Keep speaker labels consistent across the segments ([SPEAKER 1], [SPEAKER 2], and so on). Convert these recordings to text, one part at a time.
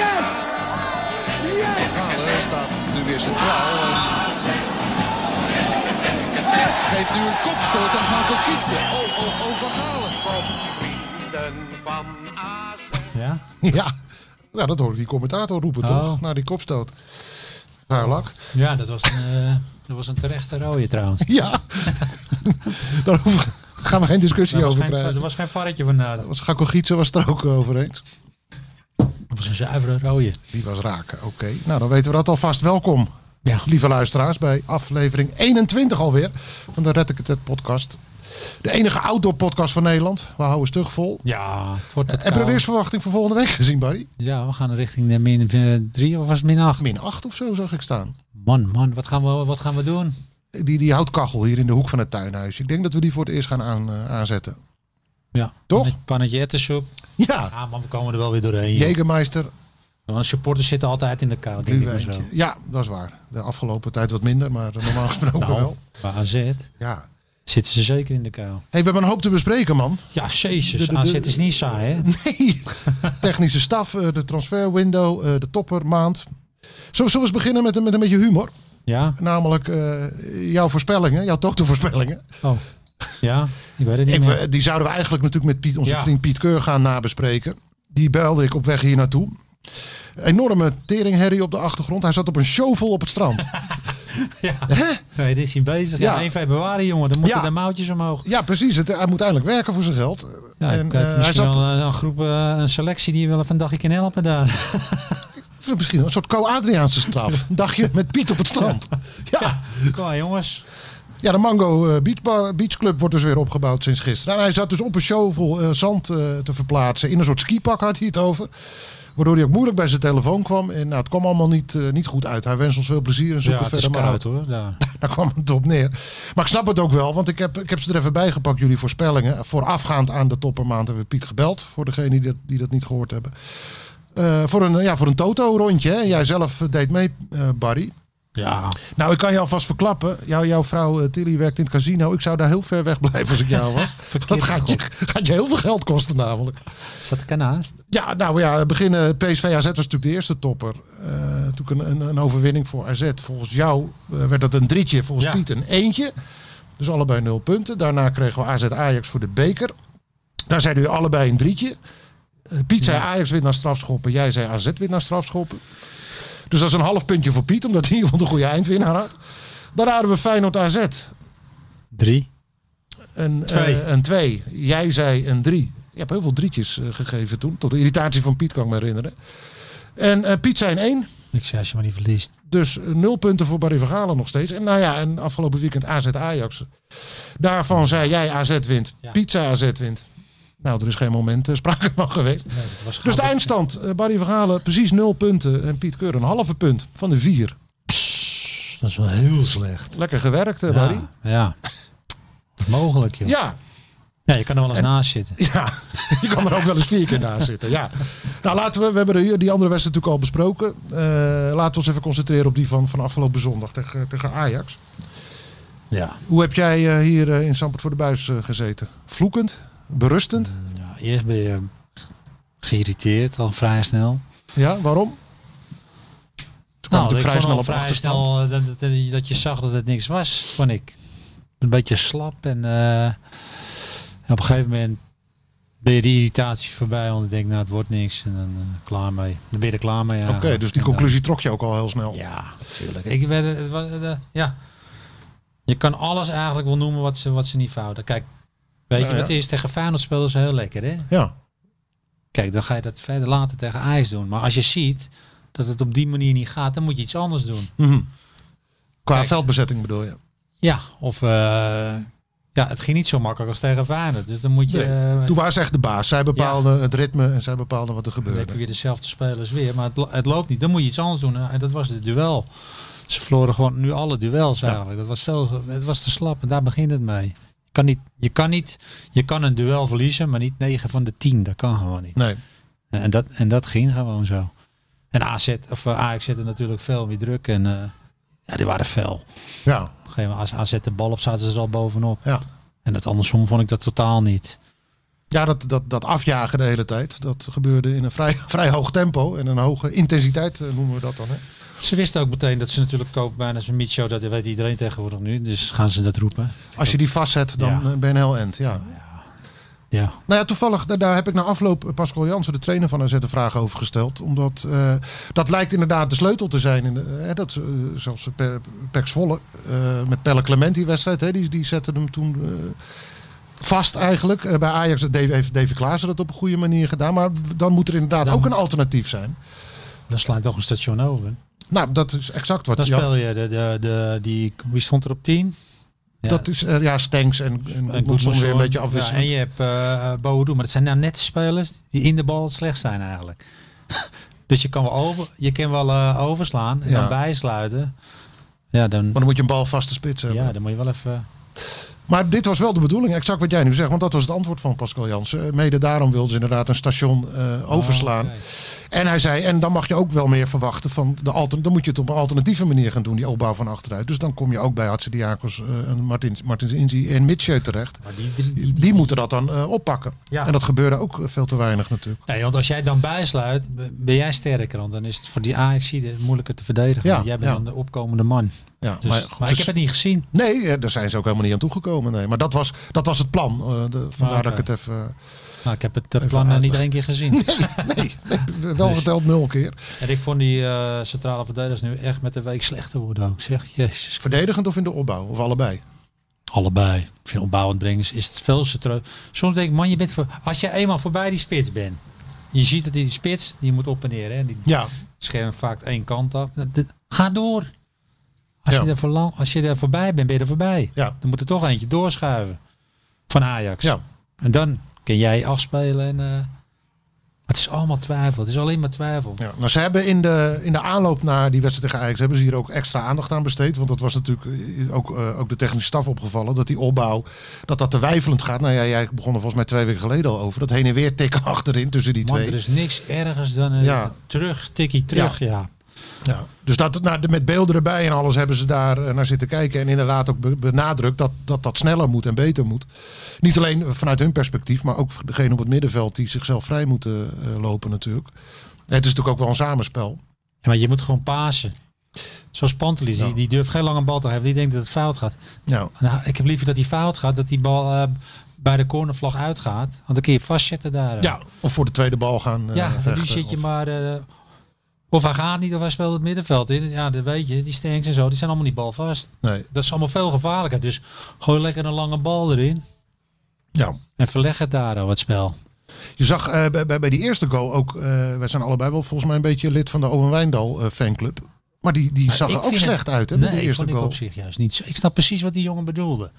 [SPEAKER 1] Yes! Yes!
[SPEAKER 2] Galen staat nu weer centraal. En geeft nu een kopstoot aan Gako Kietse. Oh, oh, oh, Van Galen.
[SPEAKER 3] Ja?
[SPEAKER 4] Ja, nou, dat hoorde die commentator roepen
[SPEAKER 3] Oh.
[SPEAKER 4] toch? Na die kopstoot. Haar lak.
[SPEAKER 3] Ja, dat was een, eh, dat was een terechte rode trouwens.
[SPEAKER 4] Ja. Daar hoeven- gaan we geen discussie
[SPEAKER 3] Daar was
[SPEAKER 4] over
[SPEAKER 3] geen,
[SPEAKER 4] krijgen.
[SPEAKER 3] er was geen varretje van na.
[SPEAKER 4] Dat was Gakko Gietse was het er ook over eens.
[SPEAKER 3] Dat was een zuivere rode.
[SPEAKER 4] Die was raken, oké. Nou, dan weten we dat alvast. Welkom,
[SPEAKER 3] Ja.
[SPEAKER 4] lieve luisteraars, bij aflevering 21 alweer van de Red Ik Het Het podcast. De enige outdoor podcast van Nederland. We houden stug vol.
[SPEAKER 3] Ja, het wordt het
[SPEAKER 4] Heb je de
[SPEAKER 3] koud.
[SPEAKER 4] weersverwachting voor volgende week gezien, Barry?
[SPEAKER 3] Ja, we gaan richting de min 3 of was het min 8?
[SPEAKER 4] Min 8 of zo zag ik staan.
[SPEAKER 3] Man, man, wat gaan we, wat gaan we doen?
[SPEAKER 4] Die, die houtkachel hier in de hoek van het tuinhuis. Ik denk dat we die voor het eerst gaan aan, eh, aanzetten.
[SPEAKER 3] Ja.
[SPEAKER 4] Toch?
[SPEAKER 3] Met Pannetje ettensoep.
[SPEAKER 4] Ja,
[SPEAKER 3] Ja, man, we komen er wel weer doorheen. joh.
[SPEAKER 4] Jägermeister,
[SPEAKER 3] Want supporters zitten altijd in de kou, denk ik maar zo.
[SPEAKER 4] Bluwijntje. Ja, dat is waar. De afgelopen tijd wat minder, maar normaal gesproken
[SPEAKER 3] Nou,
[SPEAKER 4] wel.
[SPEAKER 3] bij AZ
[SPEAKER 4] Ja.
[SPEAKER 3] zitten ze zeker in de kou.
[SPEAKER 4] Hey, we hebben een hoop te bespreken, man.
[SPEAKER 3] Ja,
[SPEAKER 4] De-
[SPEAKER 3] jezus,
[SPEAKER 4] de-
[SPEAKER 3] AZ
[SPEAKER 4] de-
[SPEAKER 3] is niet saai, hè?
[SPEAKER 4] Nee. Technische staf, eh, de transferwindow, eh, de topper, maand. Zullen we, zullen we eens beginnen met, een- met een beetje humor?
[SPEAKER 3] Ja?
[SPEAKER 4] Namelijk eh, jouw voorspellingen, jouw totovoorspellingen.
[SPEAKER 3] Oh. Ja? Ik weet het niet
[SPEAKER 4] Ik,
[SPEAKER 3] meer.
[SPEAKER 4] we- die zouden we eigenlijk natuurlijk met Piet, onze
[SPEAKER 3] Ja.
[SPEAKER 4] vriend Piet Keur gaan nabespreken. Die belde ik op weg hier naartoe. Enorme teringherrie op de achtergrond. Hij zat op een shovel op het strand.
[SPEAKER 3] Nee, dit is hij bezig. Ja,
[SPEAKER 4] Ja.
[SPEAKER 3] 1 februari, jongen. Dan moeten
[SPEAKER 4] Ja.
[SPEAKER 3] de mouwtjes omhoog.
[SPEAKER 4] ja, precies. Het, hij moet eindelijk werken voor zijn geld.
[SPEAKER 3] Ja,
[SPEAKER 4] En,
[SPEAKER 3] ik had
[SPEAKER 4] eh, hij
[SPEAKER 3] misschien
[SPEAKER 4] zat
[SPEAKER 3] wel een, een groep, eh, een selectie die je wel even een dagje kan helpen daar. eh.
[SPEAKER 4] misschien een soort co-Adriaanse straf. Een dagje met Piet op het strand. Ja.
[SPEAKER 3] Ja, kom maar, jongens.
[SPEAKER 4] Ja, de Mango eh, Beach, Bar, Beach Club wordt dus weer opgebouwd sinds gisteren. En hij zat dus op een shovel eh, zand eh, te verplaatsen. In een soort skipak had hij het over. Waardoor hij ook moeilijk bij zijn telefoon kwam. En nou, het kwam allemaal niet, eh, niet goed uit. Hij wenst ons veel plezier en zoek
[SPEAKER 3] Ja,
[SPEAKER 4] het
[SPEAKER 3] het is
[SPEAKER 4] verder maar uit.
[SPEAKER 3] koud hoor. Daar.
[SPEAKER 4] Daar kwam het op neer. Maar ik snap het ook wel, want ik heb, ik heb ze er even bij gepakt, jullie voorspellingen. Voorafgaand aan de toppermaand hebben we Piet gebeld. Voor degenen die dat, die dat niet gehoord hebben. Eh, voor een, ja, voor een Toto-rondje. hè. Jij zelf eh, deed mee, eh, Barry.
[SPEAKER 3] Ja.
[SPEAKER 4] Nou, ik kan je alvast verklappen. Jou, jouw vrouw eh, Tilly werkt in het casino. Ik zou daar heel ver weg blijven als ik jou was. Dat gaat je, gaat je heel veel geld kosten namelijk.
[SPEAKER 3] Zat ik ernaast?
[SPEAKER 4] Ja, nou ja, beginnen PSV AZ was natuurlijk de eerste topper. Eh, natuurlijk een, een, een overwinning voor AZ. Volgens jou eh, werd dat een drietje, volgens
[SPEAKER 3] Ja.
[SPEAKER 4] Piet een eentje. Dus allebei nul punten. Daarna kregen we AZ Ajax voor de beker. Daar zeiden jullie allebei een drietje. Eh, Piet zei Ajax wint naar strafschoppen. Jij zei AZ wint naar strafschoppen. Dus dat is een half puntje voor Piet, omdat hij in ieder geval de goede eindwinnaar had. Daar raden we Feyenoord AZ.
[SPEAKER 3] Drie.
[SPEAKER 4] Een,
[SPEAKER 3] Twee.
[SPEAKER 4] eh, een twee. Jij zei een drie. Je hebt heel veel drietjes eh, gegeven toen. Tot de irritatie van Piet kan ik me herinneren. En eh, Piet zijn één.
[SPEAKER 3] Ik zei als je maar niet verliest.
[SPEAKER 4] Dus eh, nul punten voor Barry van Galen nog steeds. En nou ja, en afgelopen weekend AZ Ajax. Daarvan zei jij AZ wint.
[SPEAKER 3] Ja.
[SPEAKER 4] Piet zei AZ wint. Nou, er is geen moment eh, sprake van geweest.
[SPEAKER 3] Nee, dat was
[SPEAKER 4] Dus de
[SPEAKER 3] goud.
[SPEAKER 4] eindstand. eh, Barry van Galen precies nul punten. En Piet Keur een halve punt van de vier.
[SPEAKER 3] Dat is wel heel slecht.
[SPEAKER 4] Lekker gewerkt, eh, Barry.
[SPEAKER 3] Ja. ja. Mogelijk, joh. Ja.
[SPEAKER 4] Ja,
[SPEAKER 3] je kan er wel eens naast zitten.
[SPEAKER 4] Ja, je kan er ook wel eens vier keer naast zitten. Ja. Nou, laten we, we hebben de- die andere wedstrijd natuurlijk al besproken. Eh, laten we ons even concentreren op die van, van afgelopen zondag tegen, tegen Ajax.
[SPEAKER 3] Ja.
[SPEAKER 4] Hoe heb jij eh, hier eh, in Sampert voor de Buis eh, gezeten? Vloekend? Berustend?
[SPEAKER 3] ja. Eerst ben je geïrriteerd, al vrij snel.
[SPEAKER 4] Ja, waarom? Toen kwam
[SPEAKER 3] Nou, ik
[SPEAKER 4] natuurlijk vrij
[SPEAKER 3] vond
[SPEAKER 4] snel
[SPEAKER 3] al
[SPEAKER 4] op
[SPEAKER 3] vrij
[SPEAKER 4] achterstand.
[SPEAKER 3] snel eh, dat, dat, dat je zag dat het niks was, vond ik. Een beetje slap en eh, op een gegeven moment ben je die irritatie voorbij, want ik denk, nou het wordt niks en dan eh, klaar mee. Dan ben je er klaar mee.
[SPEAKER 4] Oké, dus die conclusie trok je ook al heel snel.
[SPEAKER 3] eh, Ja, natuurlijk. Ik werd, het was, eh, ja. Je kan alles eigenlijk wel noemen wat ze, wat ze niet fouten. Kijk, weet
[SPEAKER 4] Ja,
[SPEAKER 3] je wat het
[SPEAKER 4] Nou ja.
[SPEAKER 3] is? Tegen Feyenoord spelen ze heel lekker, hè?
[SPEAKER 4] Ja.
[SPEAKER 3] Kijk, dan ga je dat verder later tegen Ajax doen. Maar als je ziet dat het op die manier niet gaat, dan moet je iets anders doen.
[SPEAKER 4] Mhm. Qua
[SPEAKER 3] Kijk.
[SPEAKER 4] veldbezetting bedoel je?
[SPEAKER 3] Ja, of eh, Ja, het ging niet zo makkelijk als tegen Feyenoord. Dus dan moet je...
[SPEAKER 4] Nee,
[SPEAKER 3] eh,
[SPEAKER 4] Toen was echt de baas. Zij bepaalde het ritme en zij bepaalde wat er
[SPEAKER 3] Dan heb je
[SPEAKER 4] gebeurde.
[SPEAKER 3] weer dezelfde spelers weer. Maar het, lo- het loopt niet. Dan moet je iets anders doen. Nou, En dat was het duel. Ze verloren gewoon nu alle duels eigenlijk. Dat was veel, het was te slap. En daar begint het mee. Je kan, niet, je, kan niet, je kan een duel verliezen, maar niet 9 van de 10. Dat kan gewoon niet.
[SPEAKER 4] Nee.
[SPEAKER 3] En dat, en dat ging gewoon zo. En AZ, of eh, Ajax zette natuurlijk veel meer druk. En eh, ja, die waren fel. Op
[SPEAKER 4] Ja,
[SPEAKER 3] een gegeven moment, als AZ de bal op zaten ze er al bovenop.
[SPEAKER 4] ja.
[SPEAKER 3] En dat andersom vond ik dat totaal niet.
[SPEAKER 4] ja dat, dat, dat afjagen de hele tijd. Dat gebeurde in een vrij, vrij hoog tempo en een hoge intensiteit eh, noemen we dat dan. Hè?
[SPEAKER 3] Ze wisten ook meteen dat ze natuurlijk koopbijners en Micho, dat weet iedereen tegenwoordig nu. Dus gaan ze dat roepen.
[SPEAKER 4] Als je die vastzet, dan
[SPEAKER 3] Ja.
[SPEAKER 4] eh, ben je een heel end. Ja.
[SPEAKER 3] Ja.
[SPEAKER 4] Nou ja, toevallig, da- daar heb ik na afloop eh, Pascal Jansen, de trainer van AZ, een vraag over gesteld. Omdat eh, dat lijkt inderdaad de sleutel te zijn. In de, hè, dat, eh, zelfs Pe- Pek Zwolle, eh, met Pelle Clement die wedstrijd, hè, die, die zette hem toen eh, vast eigenlijk. Eh, bij Ajax deed- heeft David Klaassen dat op een goede manier gedaan. Maar dan moet er inderdaad
[SPEAKER 3] Dan-
[SPEAKER 4] ook een alternatief zijn.
[SPEAKER 3] Dan sla je toch een station over.
[SPEAKER 4] Nou, dat is exact wat...
[SPEAKER 3] Dan
[SPEAKER 4] Jan-
[SPEAKER 3] speel je de, de, de, die, wie stond er op 10? Ja,
[SPEAKER 4] Dat is, eh, ja, Stenks en, en,
[SPEAKER 3] en
[SPEAKER 4] moet soms weer een
[SPEAKER 3] Goedmanson.
[SPEAKER 4] beetje
[SPEAKER 3] Ja,
[SPEAKER 4] afwisselen.
[SPEAKER 3] en je hebt eh eh, Boadu, maar dat zijn nou net spelers die in de bal slecht zijn eigenlijk. dus je kan wel, over, je kan wel eh, overslaan en
[SPEAKER 4] Ja.
[SPEAKER 3] dan bijsluiten. Ja dan,
[SPEAKER 4] Maar dan moet je een bal vaste spits hebben.
[SPEAKER 3] ja, dan moet je wel even...
[SPEAKER 4] Maar dit was wel de bedoeling, exact wat jij nu zegt. Want dat was het antwoord van Pascal Jansen. Eh, Mede daarom wilden ze inderdaad een station eh, overslaan.
[SPEAKER 3] Oh, oké.
[SPEAKER 4] En hij zei, en dan mag je ook wel meer verwachten van de altern. Dan moet je het op een alternatieve manier gaan doen, die opbouw van achteruit. Dus dan kom je ook bij Hatsidiakos, eh en Martins, Martins Inzi en Mitsjeu terecht.
[SPEAKER 3] Maar die drie- die-
[SPEAKER 4] Die moeten dat dan eh, oppakken.
[SPEAKER 3] Ja.
[SPEAKER 4] En dat gebeurde ook eh, veel te weinig natuurlijk.
[SPEAKER 3] Nee, want als jij dan bijsluit, b- ben jij sterker. Want dan is het voor die AXC moeilijker te verdedigen.
[SPEAKER 4] Ja,
[SPEAKER 3] want jij bent
[SPEAKER 4] ja.
[SPEAKER 3] dan de opkomende man.
[SPEAKER 4] Ja,
[SPEAKER 3] Dus,
[SPEAKER 4] maar
[SPEAKER 3] maar
[SPEAKER 4] goed,
[SPEAKER 3] ik
[SPEAKER 4] dus-
[SPEAKER 3] heb het niet gezien.
[SPEAKER 4] Nee, eh, daar zijn ze ook helemaal niet aan toegekomen. Nee. Maar dat was, dat was het plan. eh, de- vandaar
[SPEAKER 3] Ah, oké.
[SPEAKER 4] dat ik het even...
[SPEAKER 3] Nou, ik heb het eh,
[SPEAKER 4] Even
[SPEAKER 3] plan eh, niet
[SPEAKER 4] uitleg.
[SPEAKER 3] één keer gezien.
[SPEAKER 4] Nee, nee, eh, wel
[SPEAKER 3] Dus-
[SPEAKER 4] geteld nul keer.
[SPEAKER 3] En ik vond die eh, centrale verdedigers nu echt met de week slechter worden ook. Zeg, jezus.
[SPEAKER 4] Verdedigend of in de opbouw? Of allebei?
[SPEAKER 3] Allebei. Ik vind opbouwend brengen is het veel centraal. Soms denk ik, man, je bent voor, als je eenmaal voorbij die spits bent. Je ziet dat die spits, die moet op en neer. Hè? en Die
[SPEAKER 4] Ja,
[SPEAKER 3] schermt vaak één kant af. Dat- dat- Ga door. Als,
[SPEAKER 4] Ja.
[SPEAKER 3] je er voor lang, als je er voorbij bent, ben je er voorbij.
[SPEAKER 4] Ja.
[SPEAKER 3] Dan moet er toch eentje doorschuiven. Van Ajax.
[SPEAKER 4] Ja.
[SPEAKER 3] En dan kun jij afspelen. En, eh, het is allemaal twijfel. Het is alleen maar twijfel.
[SPEAKER 4] Ja, nou, ze hebben in de, in de aanloop naar die wedstrijd tegen Ajax hebben ze hier ook extra aandacht aan besteed. Want dat was natuurlijk eh, ook, eh, ook de technische staf opgevallen. Dat die opbouw, dat dat te wijfelend gaat. Nou ja, jij begon er volgens mij twee weken geleden al over. Dat heen en weer tikken achterin tussen die
[SPEAKER 3] Man,
[SPEAKER 4] twee.
[SPEAKER 3] er is niks ergers dan een
[SPEAKER 4] Ja.
[SPEAKER 3] terug, tikkie terug, ja.
[SPEAKER 4] Ja. Dus dat, nou, de- met beelden erbij en alles hebben ze daar eh, naar zitten kijken. En inderdaad ook be- benadrukt dat, dat dat sneller moet en beter moet. Niet alleen vanuit hun perspectief, maar ook voor degene op het middenveld die zichzelf vrij moeten eh, lopen natuurlijk. Het is natuurlijk ook wel een samenspel.
[SPEAKER 3] Ja, Maar je moet gewoon pasen. Zoals Pantelis,
[SPEAKER 4] Ja.
[SPEAKER 3] die, die durft geen lange bal te hebben. Die denkt dat het fout gaat.
[SPEAKER 4] Ja.
[SPEAKER 3] Nou, ik heb liever dat die fout gaat, dat die bal eh, bij de cornervlag uitgaat. Want dan kun je vastzetten daar. eh.
[SPEAKER 4] Ja, of voor de tweede bal gaan eh
[SPEAKER 3] Ja, nu
[SPEAKER 4] vechten.
[SPEAKER 3] zit je
[SPEAKER 4] Of-
[SPEAKER 3] maar. eh, of hij gaat niet, of hij speelt het middenveld in. Ja, dat weet je. Die Stenks en zo, die zijn allemaal niet balvast.
[SPEAKER 4] Nee,
[SPEAKER 3] Dat is allemaal veel gevaarlijker. Dus gooi lekker een lange bal erin.
[SPEAKER 4] ja.
[SPEAKER 3] En verleg het daar, oh, het spel.
[SPEAKER 4] Je zag eh, bij, bij, bij die eerste goal ook, eh, wij zijn allebei wel volgens mij een beetje lid van de Owen Wijndal eh, fanclub. Maar die, die zag
[SPEAKER 3] ik
[SPEAKER 4] er ook
[SPEAKER 3] vind het-
[SPEAKER 4] slecht uit, hè, bij
[SPEAKER 3] Nee,
[SPEAKER 4] die eerste
[SPEAKER 3] vond ik
[SPEAKER 4] goal.
[SPEAKER 3] op zich juist niet. zo. Ik snap precies wat die jongen bedoelde.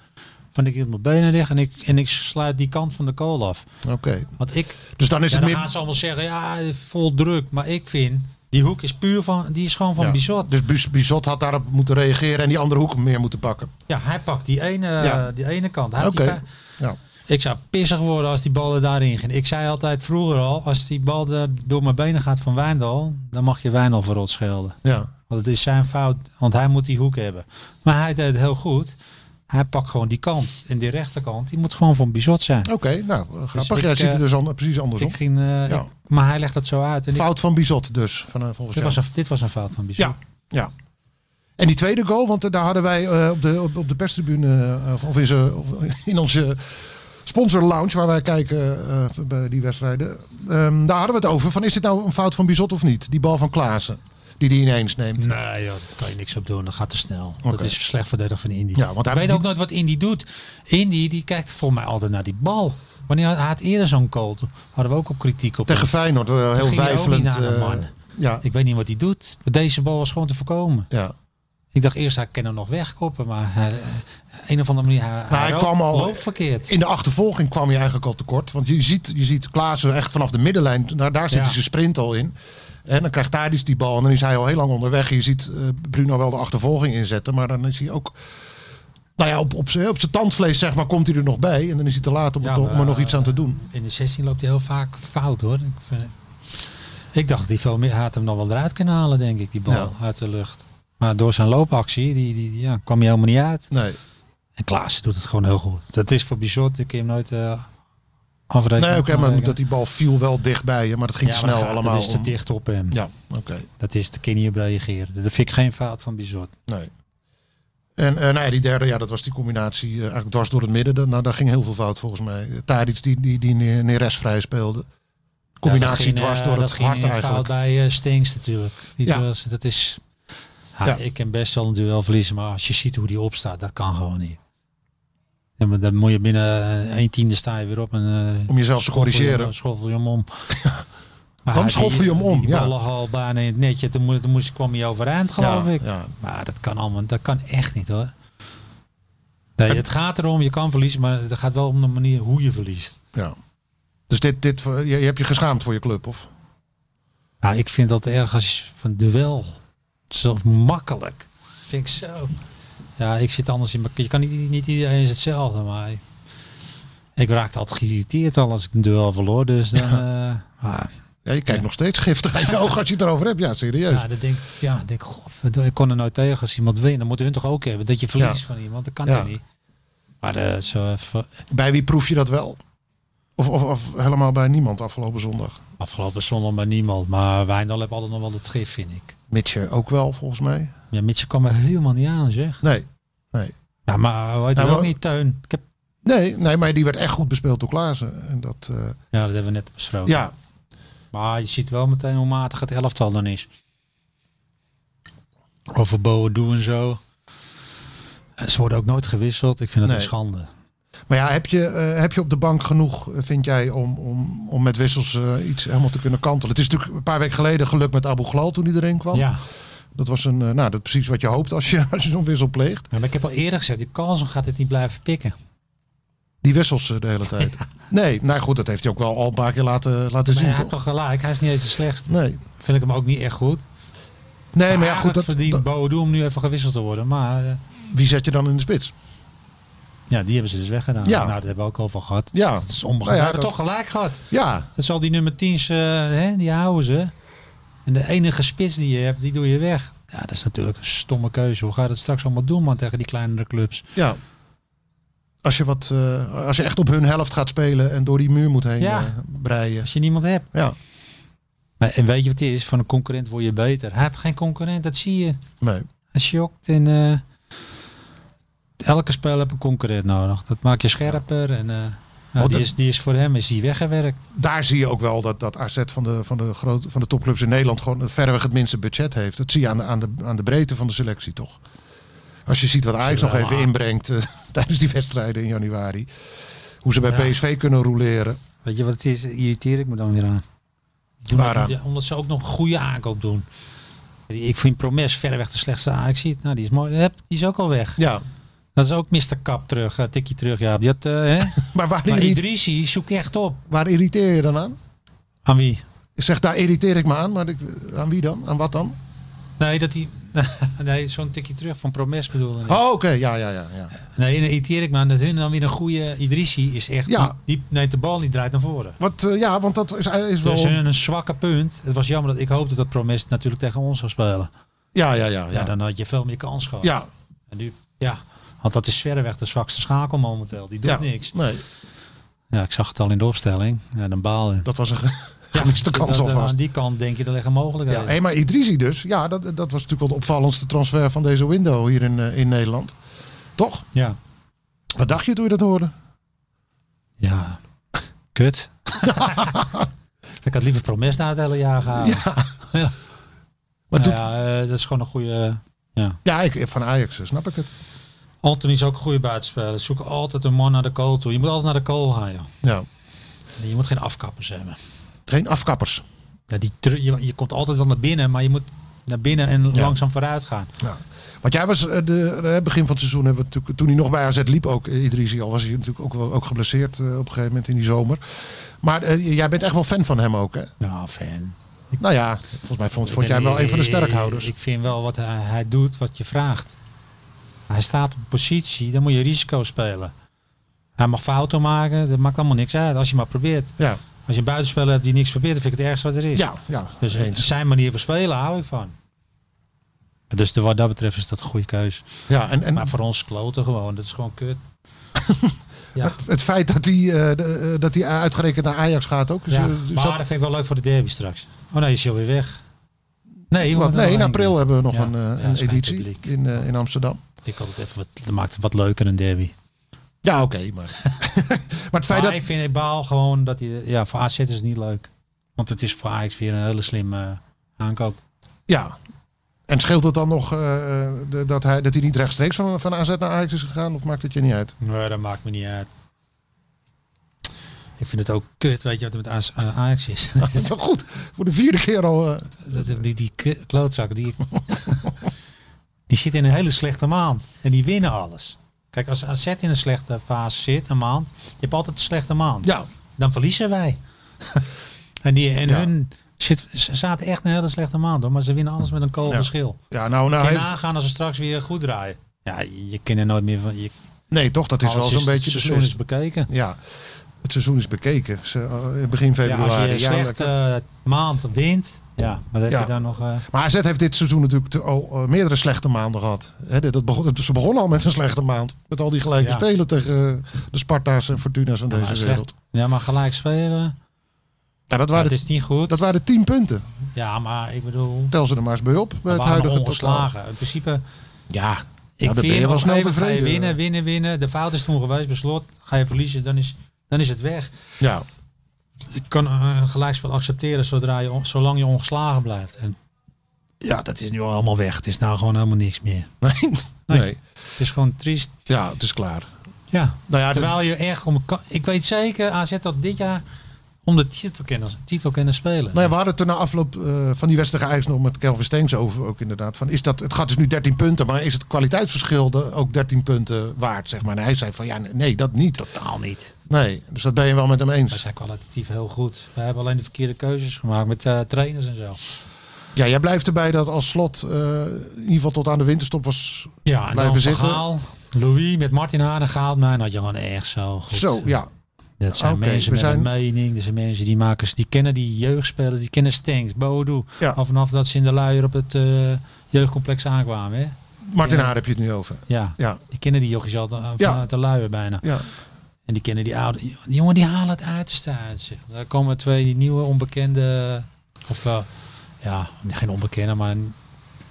[SPEAKER 3] Van ik hield mijn benen recht en ik, en ik sluit die kant van de kool af.
[SPEAKER 4] Oké,
[SPEAKER 3] Want ik,
[SPEAKER 4] dus dan is
[SPEAKER 3] ja,
[SPEAKER 4] het
[SPEAKER 3] dan
[SPEAKER 4] meer...
[SPEAKER 3] gaan ze allemaal zeggen, ja, vol druk. Maar ik vind, die hoek is puur van, die is gewoon van
[SPEAKER 4] Ja.
[SPEAKER 3] Bizot.
[SPEAKER 4] Dus Bus- Bizot had daarop moeten reageren en die andere hoek meer moeten pakken.
[SPEAKER 3] Ja, hij pakt die ene,
[SPEAKER 4] Ja.
[SPEAKER 3] die ene kant. Hij
[SPEAKER 4] Oké,
[SPEAKER 3] had die vij-
[SPEAKER 4] ja.
[SPEAKER 3] Ik zou pissig worden als die bal er daarin ging. Ik zei altijd vroeger al, als die bal er door mijn benen gaat van Wijndal, dan mag je Wijndal verrot schelden.
[SPEAKER 4] ja.
[SPEAKER 3] Want het is zijn fout, want hij moet die hoek hebben. Maar hij deed het heel goed. Hij pakt gewoon die kant. En die rechterkant, die moet gewoon van Bizot zijn.
[SPEAKER 4] Oké, nou, eh, grappig.
[SPEAKER 3] ik,
[SPEAKER 4] Jij ziet
[SPEAKER 3] eh,
[SPEAKER 4] het dus an- precies andersom.
[SPEAKER 3] Ik ging, eh,
[SPEAKER 4] Ja.
[SPEAKER 3] ik- maar hij legt dat zo uit. En ik-
[SPEAKER 4] Fout van Bizot dus, van, eh, volgens
[SPEAKER 3] dit,
[SPEAKER 4] jou.
[SPEAKER 3] was een, dit was een fout van Bizot.
[SPEAKER 4] Ja, ja. En die tweede goal, want eh, daar hadden wij eh, op, de, op, op de perstribune, eh, of- of in, ze, of in onze sponsor lounge, waar wij kijken eh, bij die wedstrijden, ehm, daar hadden we het over. Van is dit nou een fout van Bizot of niet? Die bal van Klaassen, die die ineens neemt.
[SPEAKER 3] Nee, joh, daar kan je niks op doen. Dat gaat te snel. Dat
[SPEAKER 4] Oké.
[SPEAKER 3] is slecht verdedigd van Indy.
[SPEAKER 4] Ja, want hij-
[SPEAKER 3] ik weet
[SPEAKER 4] die-
[SPEAKER 3] ook nooit wat Indy doet. Indy die kijkt volgens mij altijd naar die bal. Wanneer hij had eerder zo'n goal, toen hadden we ook op kritiek op.
[SPEAKER 4] Tegen
[SPEAKER 3] hem.
[SPEAKER 4] Feyenoord, eh, heel
[SPEAKER 3] ging hij ook
[SPEAKER 4] wijfelend.
[SPEAKER 3] niet naar de
[SPEAKER 4] eh,
[SPEAKER 3] man.
[SPEAKER 4] ja,
[SPEAKER 3] Ik weet niet wat hij doet. Maar deze bal was gewoon te voorkomen.
[SPEAKER 4] ja.
[SPEAKER 3] Ik dacht eerst, hij kan hem nog wegkoppen, maar hij, eh, een of andere manier, hij,
[SPEAKER 4] hij
[SPEAKER 3] loopt-
[SPEAKER 4] kwam al-
[SPEAKER 3] loopt verkeerd.
[SPEAKER 4] In de achtervolging kwam je eigenlijk al tekort. Want je ziet, je ziet Klaassen echt vanaf de middenlijn. Daar, daar zit
[SPEAKER 3] Ja.
[SPEAKER 4] hij zijn sprint al in. En dan krijgt Thadis die bal. En dan is hij al heel lang onderweg. Je ziet eh, Bruno wel de achtervolging inzetten. Maar dan is hij ook... Nou ja, op, op zijn op zijn tandvlees zeg maar, komt hij er nog bij. En dan is hij te laat om,
[SPEAKER 3] Ja,
[SPEAKER 4] het nog- om er
[SPEAKER 3] maar,
[SPEAKER 4] nog iets aan te doen.
[SPEAKER 3] In de 16 loopt hij heel vaak fout hoor. Ik, vind, ik dacht die veel meer hij had hem nog wel eruit kunnen halen, denk ik, die bal
[SPEAKER 4] Ja.
[SPEAKER 3] uit de lucht. Maar door zijn loopactie die, die, die, ja, kwam hij helemaal niet uit.
[SPEAKER 4] Nee.
[SPEAKER 3] En Klaas doet het gewoon heel goed. Dat is voor Bizot, ik kan hem nooit eh afrekenen.
[SPEAKER 4] Nee, oké, maar
[SPEAKER 3] afrekenen.
[SPEAKER 4] dat die bal viel wel dichtbij je, maar dat ging
[SPEAKER 3] Ja, maar
[SPEAKER 4] snel
[SPEAKER 3] dat gaat-
[SPEAKER 4] allemaal.
[SPEAKER 3] Dat is te
[SPEAKER 4] om.
[SPEAKER 3] dicht op hem.
[SPEAKER 4] Ja, oké.
[SPEAKER 3] Dat is, daar kan je niet op reageren. Dat vind ik geen fout van Bizot.
[SPEAKER 4] Nee. En eh, nou ja, die derde, ja, dat was die combinatie eh, eigenlijk dwars door het midden. Dat- nou, daar ging heel veel fout volgens mij. Tadic die, die, die neer- Neres vrij speelde. Combinatie
[SPEAKER 3] Ja, dat ging,
[SPEAKER 4] dwars
[SPEAKER 3] eh,
[SPEAKER 4] door
[SPEAKER 3] dat
[SPEAKER 4] het
[SPEAKER 3] ging
[SPEAKER 4] hart
[SPEAKER 3] in fout
[SPEAKER 4] eigenlijk.
[SPEAKER 3] bij eh, Stings natuurlijk. Die
[SPEAKER 4] Ja.
[SPEAKER 3] duels, dat is, ja,
[SPEAKER 4] Ja.
[SPEAKER 3] Ik kan best wel een duel verliezen, maar als je ziet hoe die opstaat, dat kan gewoon niet. Ja, maar dan moet je binnen eh, een tiende sta je weer op. En, eh,
[SPEAKER 4] Om jezelf te
[SPEAKER 3] schoffel je-
[SPEAKER 4] corrigeren.
[SPEAKER 3] Schoffel je hem om. Maar
[SPEAKER 4] Dan
[SPEAKER 3] hij-
[SPEAKER 4] schoffel je hem
[SPEAKER 3] die-
[SPEAKER 4] om,
[SPEAKER 3] Die
[SPEAKER 4] ja.
[SPEAKER 3] bal lag al bijna in het netje. Toen, moest- toen moest, kwam hij overeind, geloof
[SPEAKER 4] ja,
[SPEAKER 3] ik.
[SPEAKER 4] Ja.
[SPEAKER 3] Maar dat kan allemaal, dat kan echt niet hoor. Nee, het gaat erom, je kan verliezen, maar het gaat wel om de manier hoe je verliest.
[SPEAKER 4] ja. Dus dit, dit, je, je hebt je geschaamd voor je club, of?
[SPEAKER 3] Nou, ik vind dat erg als je van duel. Zo makkelijk. Vind ik zo. Ja, ik zit anders in mijn. Je kan niet, niet iedereen is hetzelfde, maar. ik- Ik raakte altijd geïrriteerd al als ik een duel verloor. Dus dan. eh, maar,
[SPEAKER 4] Ja, je kijkt nog steeds giftig aan je ogen als je het erover hebt. Ja, serieus.
[SPEAKER 3] ja, dan denk ik, ja, dan denk ik, godverdomme, ik kon er nooit tegen als iemand wint. Dan moeten hun toch ook hebben dat je verliest van iemand. Dat kan
[SPEAKER 4] Ja.
[SPEAKER 3] toch niet. Maar eh, zo even,
[SPEAKER 4] Bij wie proef je dat wel? Of, of, of helemaal bij niemand afgelopen zondag?
[SPEAKER 3] afgelopen zondag maar niemand. Maar Wijndal heeft altijd nog wel het gif, vind ik.
[SPEAKER 4] Mitje ook wel, volgens mij.
[SPEAKER 3] Ja, Mitchell kwam er helemaal niet aan, zeg.
[SPEAKER 4] Nee,
[SPEAKER 3] Ja, maar hoe heet dat ook
[SPEAKER 4] Ja, Nou, maar-
[SPEAKER 3] niet, Teun? Ik heb,
[SPEAKER 4] Nee, nee, maar die werd echt goed bespeeld door Klaassen. En dat, eh,
[SPEAKER 3] ja, dat hebben we net besproken.
[SPEAKER 4] ja.
[SPEAKER 3] Maar je ziet wel meteen hoe matig het elftal dan is. Over Boadu en zo. En Ze worden ook nooit gewisseld. Ik vind dat
[SPEAKER 4] Nee.
[SPEAKER 3] een schande.
[SPEAKER 4] Maar ja, heb je, eh, heb je op de bank genoeg, eh, vind jij, om, om, om met wissels eh, iets helemaal te kunnen kantelen? Het is natuurlijk een paar weken geleden gelukt met Abu Ghlal toen hij erin kwam.
[SPEAKER 3] Ja,
[SPEAKER 4] Dat was een, eh, nou, dat is precies wat je hoopt als je, als je zo'n wissel pleegt.
[SPEAKER 3] maar ik heb al eerder gezegd, die Carlsen gaat dit niet blijven pikken.
[SPEAKER 4] Die wissels eh, de hele tijd. Nee, nou goed, dat heeft hij ook wel al een paar keer laten, laten
[SPEAKER 3] Maar
[SPEAKER 4] zien,
[SPEAKER 3] hij heeft
[SPEAKER 4] toch?
[SPEAKER 3] toch gelijk, hij is niet eens de slechtste.
[SPEAKER 4] Nee.
[SPEAKER 3] Vind ik hem ook niet echt goed.
[SPEAKER 4] Nee, maar ja, goed,
[SPEAKER 3] Eigenlijk
[SPEAKER 4] dat,
[SPEAKER 3] verdient
[SPEAKER 4] dat-
[SPEAKER 3] Boadu om nu even gewisseld te worden. Maar eh,
[SPEAKER 4] wie zet je dan in de spits?
[SPEAKER 3] ja, die hebben ze dus weggedaan.
[SPEAKER 4] Ja.
[SPEAKER 3] Nou, dat hebben we ook al van gehad.
[SPEAKER 4] Ja.
[SPEAKER 3] Dat is onbegrijpelijk.
[SPEAKER 4] Nou ja,
[SPEAKER 3] We hebben
[SPEAKER 4] dat-
[SPEAKER 3] toch gelijk gehad.
[SPEAKER 4] Ja,
[SPEAKER 3] Dat zal die nummer 10's, eh, hè, die houden ze. En de enige spits die je hebt, die doe je weg. Ja, dat is natuurlijk een stomme keuze. Hoe ga je dat straks allemaal doen, man, tegen die kleinere clubs?
[SPEAKER 4] ja. Als je, wat, eh, als je echt op hun helft gaat spelen en door die muur moet heen
[SPEAKER 3] Ja.
[SPEAKER 4] eh, breien.
[SPEAKER 3] Als je niemand hebt.
[SPEAKER 4] Ja,
[SPEAKER 3] Maar, en weet je wat het is? Van een concurrent word je beter. Hij heeft geen concurrent, dat zie je.
[SPEAKER 4] nee.
[SPEAKER 3] Hij schokt en... eh, elke speler heeft een concurrent nodig. Dat maakt je scherper en... eh, nou,
[SPEAKER 4] Oh,
[SPEAKER 3] die,
[SPEAKER 4] dat-
[SPEAKER 3] is, die is voor hem is die weggewerkt.
[SPEAKER 4] daar zie je ook wel dat, dat AZ van de, van, de grote van de topclubs in Nederland gewoon verreweg het minste budget heeft. Dat zie je aan de, aan de, aan de breedte van de selectie toch. Als je ziet wat Ajax nog
[SPEAKER 3] wel
[SPEAKER 4] even
[SPEAKER 3] aan.
[SPEAKER 4] inbrengt eh, tijdens die wedstrijden in januari. Hoe ze bij
[SPEAKER 3] Ja.
[SPEAKER 4] PSV kunnen roleren.
[SPEAKER 3] Weet je wat het is? Irriteer ik me dan weer aan. Doen
[SPEAKER 4] Waaraan?
[SPEAKER 3] dat- Omdat ze ook nog een goede aankoop doen. Ik vind Promes verreweg de slechtste ajax Nou, die is mooi. Hup, Die is ook al weg.
[SPEAKER 4] Ja,
[SPEAKER 3] Dat is ook Mr. Kap terug. eh, tikkie terug, ja. Die had, eh, hè?
[SPEAKER 4] maar waar,
[SPEAKER 3] maar
[SPEAKER 4] irri-
[SPEAKER 3] Idrissi zoekt echt op.
[SPEAKER 4] waar irriteer je dan aan?
[SPEAKER 3] Aan wie?
[SPEAKER 4] Ik zeg, daar irriteer ik me aan, maar ik, eh, aan wie dan? Aan wat dan?
[SPEAKER 3] Nee, dat die... Nee, zo'n tikkie terug van Promes bedoelde ik.
[SPEAKER 4] Oh, oké, ja, ja, ja. ja.
[SPEAKER 3] Nee, dan irriteer ik me aan dat hun dan weer een goede... Idrissi is echt...
[SPEAKER 4] Ja.
[SPEAKER 3] Die, die neemt de bal, die draait naar voren.
[SPEAKER 4] Wat, eh, ja, want dat is, is wel...
[SPEAKER 3] Dus hun een zwakke punt. Het was jammer dat ik hoopte dat Promes natuurlijk tegen ons zou spelen.
[SPEAKER 4] Ja, ja, ja.
[SPEAKER 3] Ja,
[SPEAKER 4] Ja,
[SPEAKER 3] dan had je veel meer kans gehad.
[SPEAKER 4] ja,
[SPEAKER 3] En nu, ja, want dat is verreweg de zwakste schakel momenteel. Die doet
[SPEAKER 4] ja.
[SPEAKER 3] niks.
[SPEAKER 4] Nee,
[SPEAKER 3] Ja, ik zag het al in de opstelling. Ja, dan baal je.
[SPEAKER 4] dat was een ge- gemiste kans
[SPEAKER 3] dat- dat-
[SPEAKER 4] alvast.
[SPEAKER 3] Aan die kant denk je, er liggen mogelijkheden.
[SPEAKER 4] Ja, hé, maar Idrisi dus. Ja, dat, dat was natuurlijk wel de opvallendste transfer van deze window hier in, eh, in Nederland. Toch?
[SPEAKER 3] ja.
[SPEAKER 4] Wat dacht je toen je dat hoorde?
[SPEAKER 3] Ja, kut. ik had liever Promes na het hele jaar gehouden. Ja,
[SPEAKER 4] Maar doet- ja,
[SPEAKER 3] ja eh, dat is gewoon een goede...
[SPEAKER 4] ik, van Ajax eh, snap ik het.
[SPEAKER 3] Anthony is ook een goede buitenspeler. Zoek altijd een man naar de kool toe. Je moet altijd naar de kool gaan, joh.
[SPEAKER 4] Ja.
[SPEAKER 3] Je moet geen afkappers hebben.
[SPEAKER 4] Geen afkappers.
[SPEAKER 3] Ja, die tru- je, je komt altijd wel naar binnen, maar je moet naar binnen en langzaam vooruit gaan.
[SPEAKER 4] Ja. Want jij was eh, de, eh, begin van het seizoen, hebben we natuurlijk- toen hij nog bij AZ liep ook, eh, Idrissi, al was hij natuurlijk ook, wel- ook geblesseerd eh, op een gegeven moment in die zomer. Maar eh, jij bent echt wel fan van hem ook, hè?
[SPEAKER 3] Nou, fan.
[SPEAKER 4] Nou ja, volgens mij vond, vond
[SPEAKER 3] Ik ben-
[SPEAKER 4] jij hem wel een van de
[SPEAKER 3] ik-
[SPEAKER 4] sterkhouders.
[SPEAKER 3] Ik vind wel wat hij, hij doet, wat je vraagt. Hij staat op een positie, dan moet je risico spelen. Hij mag fouten maken, dat maakt allemaal niks uit. Als je maar probeert.
[SPEAKER 4] Ja,
[SPEAKER 3] Als je een buitenspeler hebt die niks probeert, dan vind ik het ergste wat er is.
[SPEAKER 4] ja, ja.
[SPEAKER 3] Dus
[SPEAKER 4] eens.
[SPEAKER 3] zijn manier van spelen hou ik van. Dus de, wat dat betreft is dat een goede keus.
[SPEAKER 4] Ja, en, en
[SPEAKER 3] Maar voor ons kloten gewoon, dat is gewoon kut. ja.
[SPEAKER 4] het feit dat hij, eh, de- eh, dat hij uitgerekend naar Ajax gaat ook. is,
[SPEAKER 3] ja.
[SPEAKER 4] eh,
[SPEAKER 3] Maar
[SPEAKER 4] is
[SPEAKER 3] dat
[SPEAKER 4] dat-
[SPEAKER 3] vind ik wel leuk voor de derby straks. Oh nee, is hij alweer weg. Nee,
[SPEAKER 4] wat,
[SPEAKER 3] want-
[SPEAKER 4] nee, in april hebben we nog
[SPEAKER 3] Ja,
[SPEAKER 4] een, eh,
[SPEAKER 3] ja, dat
[SPEAKER 4] een
[SPEAKER 3] is geen
[SPEAKER 4] editie
[SPEAKER 3] publiek.
[SPEAKER 4] in, eh, in Amsterdam.
[SPEAKER 3] Ik had het even wat, dat maakt het wat leuker een derby.
[SPEAKER 4] Ja, oké. maar maar het feit
[SPEAKER 3] Maar
[SPEAKER 4] dat...
[SPEAKER 3] ik vind ik baal gewoon dat hij, ja, voor AZ is het niet leuk. Want het is voor Ajax weer een hele slimme eh, aankoop.
[SPEAKER 4] Ja. En scheelt het dan nog eh, eh, de- dat, hij, dat hij niet rechtstreeks van, van AZ naar Ajax is gegaan? Of maakt het je niet uit?
[SPEAKER 3] Nee, dat maakt me niet uit. Ik vind het ook kut, weet je wat er met AZ aan Ajax is.
[SPEAKER 4] Dat is wel goed. Voor de vierde keer al. eh,
[SPEAKER 3] Dat- dat- die die k- klootzakken, die, die zitten in een hele slechte maand. En die winnen alles. Kijk, als AZ in een slechte fase zit, een maand, je hebt altijd een slechte maand.
[SPEAKER 4] ja.
[SPEAKER 3] Dan verliezen wij. en die, en
[SPEAKER 4] Ja.
[SPEAKER 3] hun zit, ze zaten echt een hele slechte maand, hoor, maar ze winnen alles met een kool
[SPEAKER 4] Ja.
[SPEAKER 3] verschil.
[SPEAKER 4] ja, nou, nou
[SPEAKER 3] Kun je
[SPEAKER 4] heeft-
[SPEAKER 3] nagaan als ze straks weer goed draaien. Ja, je je kan er nooit meer van. Je,
[SPEAKER 4] Nee, toch? Dat is wel zo'n beetje
[SPEAKER 3] Het
[SPEAKER 4] de
[SPEAKER 3] seizoen is
[SPEAKER 4] seizoen.
[SPEAKER 3] bekeken.
[SPEAKER 4] Ja. Het seizoen is bekeken. Ze, eh, begin
[SPEAKER 3] Ja, als je
[SPEAKER 4] februari.
[SPEAKER 3] een
[SPEAKER 4] Ja,
[SPEAKER 3] slechte
[SPEAKER 4] lekker.
[SPEAKER 3] eh, maand wint, ja, maar dan
[SPEAKER 4] Ja.
[SPEAKER 3] heb je dan nog. eh,
[SPEAKER 4] Maar AZ heeft dit seizoen natuurlijk te- al eh, meerdere slechte maanden gehad. Hè, dit- dat begon, ze begonnen al met een slechte maand. Met al die gelijke
[SPEAKER 3] Ja.
[SPEAKER 4] spelen tegen eh, de Sparta's en Fortuna's van
[SPEAKER 3] ja, maar
[SPEAKER 4] deze
[SPEAKER 3] slecht-
[SPEAKER 4] wereld.
[SPEAKER 3] Ja, maar gelijk spelen.
[SPEAKER 4] Nou, dat,
[SPEAKER 3] Dat
[SPEAKER 4] waren,
[SPEAKER 3] is niet goed.
[SPEAKER 4] dat waren tien punten.
[SPEAKER 3] Ja, maar ik bedoel.
[SPEAKER 4] Tel ze er maar eens bij op. Bij
[SPEAKER 3] We
[SPEAKER 4] het
[SPEAKER 3] waren
[SPEAKER 4] huidige
[SPEAKER 3] ongeslagen. In principe,
[SPEAKER 4] Ja, nou,
[SPEAKER 3] ik
[SPEAKER 4] dan ben
[SPEAKER 3] vind
[SPEAKER 4] je wel
[SPEAKER 3] op een gegeven
[SPEAKER 4] snel
[SPEAKER 3] moment
[SPEAKER 4] tevreden.
[SPEAKER 3] Ga je winnen, winnen, winnen. De fout is toen geweest, beslot. Ga je verliezen, dan is, dan is het weg.
[SPEAKER 4] Ja,
[SPEAKER 3] Je kan eh, een gelijkspel accepteren zodra je, on- zolang je ongeslagen blijft. En ja, dat is nu al helemaal weg. Het is nou gewoon helemaal niks meer.
[SPEAKER 4] nee. nee.
[SPEAKER 3] Nee. Het is gewoon triest.
[SPEAKER 4] Ja, het is klaar.
[SPEAKER 3] Ja.
[SPEAKER 4] Nou ja,
[SPEAKER 3] Terwijl je echt om. ka- Ik weet zeker, AZ dat dit jaar om de titel kunnen, titel kunnen spelen.
[SPEAKER 4] Nou ja, we hadden het er na afloop eh, van die wedstrijd Ajax nog met Kelvin Stenks over. Ook inderdaad. Van, is dat, het gaat dus nu 13 punten, maar is het kwaliteitsverschil de- ook 13 punten waard? Zeg maar. En hij zei van ja, nee, dat niet.
[SPEAKER 3] Totaal niet.
[SPEAKER 4] Nee, dus dat ben je wel met hem
[SPEAKER 3] We
[SPEAKER 4] eens.
[SPEAKER 3] zijn kwalitatief heel goed. We hebben alleen de verkeerde keuzes gemaakt met eh, trainers en zo.
[SPEAKER 4] Ja, jij blijft erbij dat als slot, eh, in ieder geval tot aan de winterstop was.
[SPEAKER 3] Ja, en
[SPEAKER 4] Blijven
[SPEAKER 3] dan
[SPEAKER 4] zitten.
[SPEAKER 3] Gaal, Louis met Martin Hanegaal, mij had je gewoon echt zo goed.
[SPEAKER 4] Zo, ja.
[SPEAKER 3] Dat zijn
[SPEAKER 4] Oké,
[SPEAKER 3] mensen
[SPEAKER 4] we
[SPEAKER 3] met een
[SPEAKER 4] zijn-
[SPEAKER 3] mening, dat zijn mensen die maken, die kennen die jeugdspelers, die kennen Stenks, Bodo.
[SPEAKER 4] Ja.
[SPEAKER 3] Al vanaf dat ze in de luier op het eh, jeugdcomplex aankwamen. Hè?
[SPEAKER 4] Martin
[SPEAKER 3] Ja.
[SPEAKER 4] Haar heb je het nu over.
[SPEAKER 3] Ja.
[SPEAKER 4] Ja,
[SPEAKER 3] die kennen die jochies al eh, vanuit
[SPEAKER 4] Ja.
[SPEAKER 3] de luier bijna.
[SPEAKER 4] ja.
[SPEAKER 3] En die kennen die oude. Die jongen die halen het uiterste uit zich. Daar komen twee nieuwe onbekende. Of eh, ja, geen onbekende, maar. Hun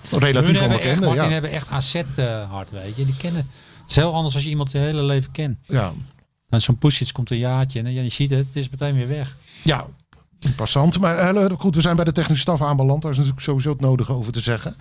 [SPEAKER 4] relatief
[SPEAKER 3] hebben echt,
[SPEAKER 4] onbekende.
[SPEAKER 3] Martin
[SPEAKER 4] Ja.
[SPEAKER 3] hebben echt AZ eh, hard, weet je. Die kennen. Het is heel anders als je iemand je hele leven kent.
[SPEAKER 4] Ja.
[SPEAKER 3] Want zo'n push komt een jaartje en eh, ja, je ziet het, het is meteen weer weg.
[SPEAKER 4] Ja, passant. Maar eh, goed, we zijn bij de technische staf aanbeland. Daar is natuurlijk sowieso het nodige over te zeggen.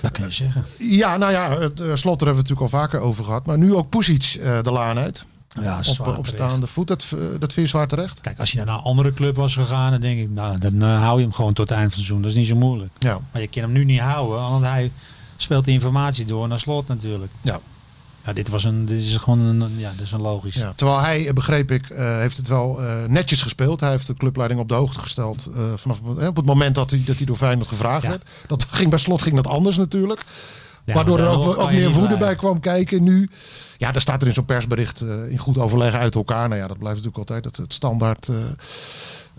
[SPEAKER 3] Dat kun je zeggen.
[SPEAKER 4] Ja, nou ja, het eh, slot, daar hebben we het natuurlijk al vaker over gehad. Maar nu ook Pusic eh, de laan uit.
[SPEAKER 3] Ja,
[SPEAKER 4] Op,
[SPEAKER 3] zwaar
[SPEAKER 4] eh, op
[SPEAKER 3] terecht.
[SPEAKER 4] staande voet. Dat, eh, dat vind je zwaar terecht.
[SPEAKER 3] Kijk, als je naar een andere club was gegaan, dan denk ik, nou, dan eh, hou je hem gewoon tot het eind van het seizoen. Dat is niet zo moeilijk.
[SPEAKER 4] Ja,
[SPEAKER 3] Maar je kan hem nu niet houden, want hij speelt de informatie door naar slot natuurlijk.
[SPEAKER 4] ja,
[SPEAKER 3] Ja, dit, was een, dit is gewoon een, ja, dit is een logisch.
[SPEAKER 4] ja. Terwijl hij, eh, begreep ik, eh, heeft het wel eh, netjes gespeeld. Hij heeft de clubleiding op de hoogte gesteld. eh, vanaf, eh, op het moment dat hij, dat hij door Feyenoord gevraagd
[SPEAKER 3] Ja.
[SPEAKER 4] werd. Dat ging bij slot ging dat anders natuurlijk.
[SPEAKER 3] Ja,
[SPEAKER 4] Waardoor
[SPEAKER 3] maar
[SPEAKER 4] er ook,
[SPEAKER 3] daardoor
[SPEAKER 4] wel-
[SPEAKER 3] kan
[SPEAKER 4] ook
[SPEAKER 3] je
[SPEAKER 4] meer
[SPEAKER 3] niet
[SPEAKER 4] woede bij
[SPEAKER 3] blijven.
[SPEAKER 4] kwam kijken nu. Ja, daar staat er in zo'n persbericht eh, in goed overleg uit elkaar. Nou ja, dat blijft natuurlijk altijd het, het standaard eh,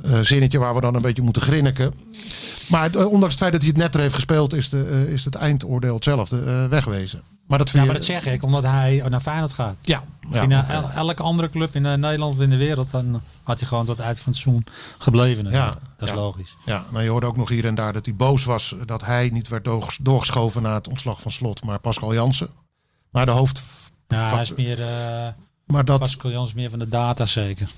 [SPEAKER 4] eh, zinnetje waar we dan een beetje moeten grinniken. Maar het, eh, ondanks het feit dat hij het net er heeft gespeeld, is, de, eh, is het eindoordeel hetzelfde. eh, wegwezen. Maar dat
[SPEAKER 3] Ja,
[SPEAKER 4] vind
[SPEAKER 3] maar
[SPEAKER 4] je...
[SPEAKER 3] dat zeg ik, omdat hij naar Feyenoord gaat.
[SPEAKER 4] Ja,
[SPEAKER 3] Als
[SPEAKER 4] ja,
[SPEAKER 3] je naar
[SPEAKER 4] oké.
[SPEAKER 3] el- elke andere club in eh, Nederland of in de wereld, dan had hij gewoon tot het eind van het seizoen gebleven. natuurlijk. dat is
[SPEAKER 4] ja.
[SPEAKER 3] logisch.
[SPEAKER 4] ja. Nou, je hoorde ook nog hier en daar dat hij boos was dat hij niet werd doorges- doorgeschoven na het ontslag van Slot. Maar Pascal Jansen, maar de hoofd...
[SPEAKER 3] Ja, hij is meer, eh
[SPEAKER 4] Maar dat,
[SPEAKER 3] Pascal Jans is meer van de data zeker.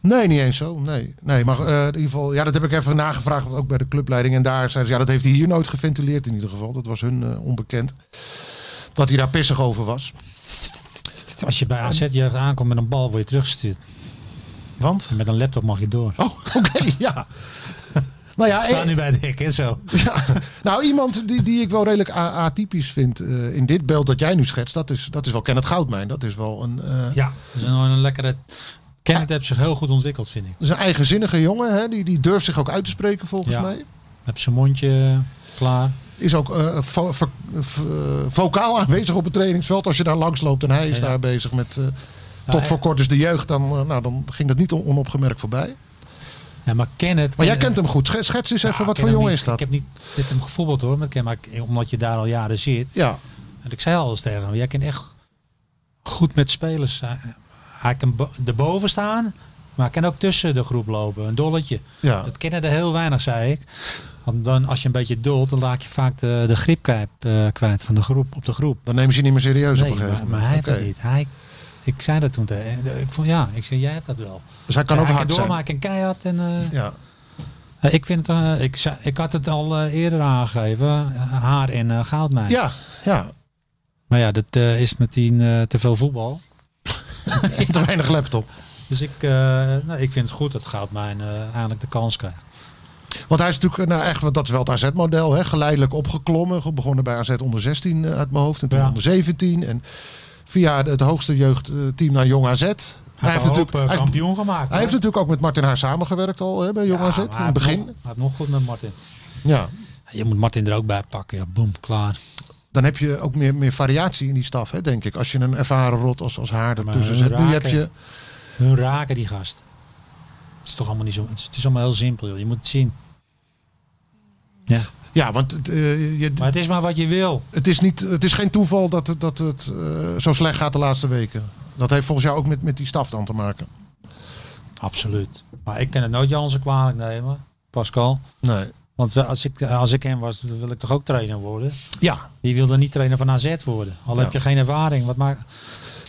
[SPEAKER 4] Nee, niet eens zo. Nee, nee maar eh, in ieder geval, ja, dat heb ik even nagevraagd, ook bij de clubleiding. En daar zeiden ze, ja, dat heeft hij hier nooit geventileerd in ieder geval. Dat was hun eh, onbekend. Dat hij daar pissig over was.
[SPEAKER 3] Als je bij AZ-jeugd aankomt met een bal, word je teruggestuurd.
[SPEAKER 4] Want?
[SPEAKER 3] Met een laptop mag je door.
[SPEAKER 4] Oh, oké, ja. Nou ja,
[SPEAKER 3] Staan
[SPEAKER 4] eh,
[SPEAKER 3] nu bij de hek en zo.
[SPEAKER 4] nou, iemand die, die ik wel redelijk a- atypisch vind eh, in dit beeld dat jij nu schetst, dat is, dat is wel Kenneth Goudmijn. Dat is wel een, eh,
[SPEAKER 3] Ja. Dat is een, een lekkere... Kenneth heeft zich heel goed ontwikkeld, vind ik.
[SPEAKER 4] dat is een eigenzinnige jongen. Hè? Die, die durft zich ook uit te spreken volgens
[SPEAKER 3] Ja.
[SPEAKER 4] mij.
[SPEAKER 3] Heb zijn mondje klaar.
[SPEAKER 4] Is ook eh, vo- vo- vo- vocaal aanwezig op het trainingsveld als je daar langs loopt. En hij is
[SPEAKER 3] Ja.
[SPEAKER 4] daar bezig met, eh,
[SPEAKER 3] Ja,
[SPEAKER 4] tot
[SPEAKER 3] en-
[SPEAKER 4] voor kort is de jeugd. Dan, eh, nou, dan ging dat niet on- onopgemerkt voorbij.
[SPEAKER 3] Ja, maar Kenneth...
[SPEAKER 4] Maar jij
[SPEAKER 3] Kenneth-
[SPEAKER 4] kent hem goed. Schets, schets eens even
[SPEAKER 3] Ja,
[SPEAKER 4] wat
[SPEAKER 3] ik
[SPEAKER 4] voor
[SPEAKER 3] ken hem
[SPEAKER 4] jongen
[SPEAKER 3] niet-
[SPEAKER 4] is dat.
[SPEAKER 3] Ik heb niet met hem gevoetbald hoor, met Ken, maar ik- omdat je daar al jaren zit.
[SPEAKER 4] Ja,
[SPEAKER 3] En ik zei al eens tegen hem, jij kan echt goed met spelers. Hij- Hij kan bo- erboven staan, maar hij kan ook tussen de groep lopen. Een dolletje.
[SPEAKER 4] ja.
[SPEAKER 3] Dat kennen er heel weinig, zei ik. Want dan, als je een beetje dolt, dan raak je vaak de, de grip kwijt, eh, kwijt van de groep, op de groep.
[SPEAKER 4] Dan nemen ze je niet meer serieus
[SPEAKER 3] Nee,
[SPEAKER 4] op een gegeven
[SPEAKER 3] maar,
[SPEAKER 4] moment.
[SPEAKER 3] maar hij heeft
[SPEAKER 4] Oké.
[SPEAKER 3] dat niet. Hij, ik zei dat toen tegen hem. Ik vond, ja, ik zei, jij hebt dat wel.
[SPEAKER 4] Dus hij kan
[SPEAKER 3] Ja,
[SPEAKER 4] ook
[SPEAKER 3] hij
[SPEAKER 4] hard
[SPEAKER 3] kan
[SPEAKER 4] zijn.
[SPEAKER 3] doormaken en keihard. En, eh,
[SPEAKER 4] Ja.
[SPEAKER 3] eh, Ik, vind het, eh, ik, zei- ik had het al eh, eerder aangegeven, eh, haar en eh goudmijn.
[SPEAKER 4] Ja, ja.
[SPEAKER 3] Maar ja, dat eh, is meteen eh, te veel voetbal.
[SPEAKER 4] Te weinig laptop.
[SPEAKER 3] Dus ik, eh, nou, ik vind het goed dat goudmijn eh eindelijk de kans krijgt.
[SPEAKER 4] Want hij is natuurlijk, eh, nou echt, want dat is wel het AZ-model, hè? geleidelijk opgeklommen. Ge- Begonnen bij AZ onder 16 eh, uit mijn hoofd en toen
[SPEAKER 3] Ja.
[SPEAKER 4] onder 17. En via de- het hoogste jeugdteam naar Jong AZ. Hij, heeft natuurlijk, hij, heeft,
[SPEAKER 3] eh, kampioen gemaakt.
[SPEAKER 4] hij heeft natuurlijk ook met Martin Haar samengewerkt al hè, bij Jong AZ. In het begin.
[SPEAKER 3] Nog, hij heeft nog goed met Martin.
[SPEAKER 4] Ja.
[SPEAKER 3] Je moet Martin er ook bij pakken. Ja, boem, klaar.
[SPEAKER 4] Dan heb je ook meer, meer variatie in die staf, hè, denk ik. Als je een ervaren rot als, als haar
[SPEAKER 3] Maar
[SPEAKER 4] ertussen zet. Nu
[SPEAKER 3] raken.
[SPEAKER 4] heb je...
[SPEAKER 3] Hun raken die gast. Het is toch allemaal niet zo. Het is, het is allemaal heel simpel. Joh. Je moet het zien. Ja.
[SPEAKER 4] Ja, want het, eh, je,
[SPEAKER 3] Maar het is maar wat je wil.
[SPEAKER 4] Het is, niet, het is geen toeval dat het, dat het eh, zo slecht gaat de laatste weken. Dat heeft volgens jou ook met, met die staf dan te maken.
[SPEAKER 3] Absoluut. Maar ik kan het nooit Jansen kwalijk nemen, Pascal.
[SPEAKER 4] Nee.
[SPEAKER 3] Want we- als ik, eh, als ik hem was, wil ik toch ook trainer worden?
[SPEAKER 4] Ja.
[SPEAKER 3] Wie wil er niet trainer van AZ worden? Al heb
[SPEAKER 4] Ja.
[SPEAKER 3] je geen ervaring. Wat maakt...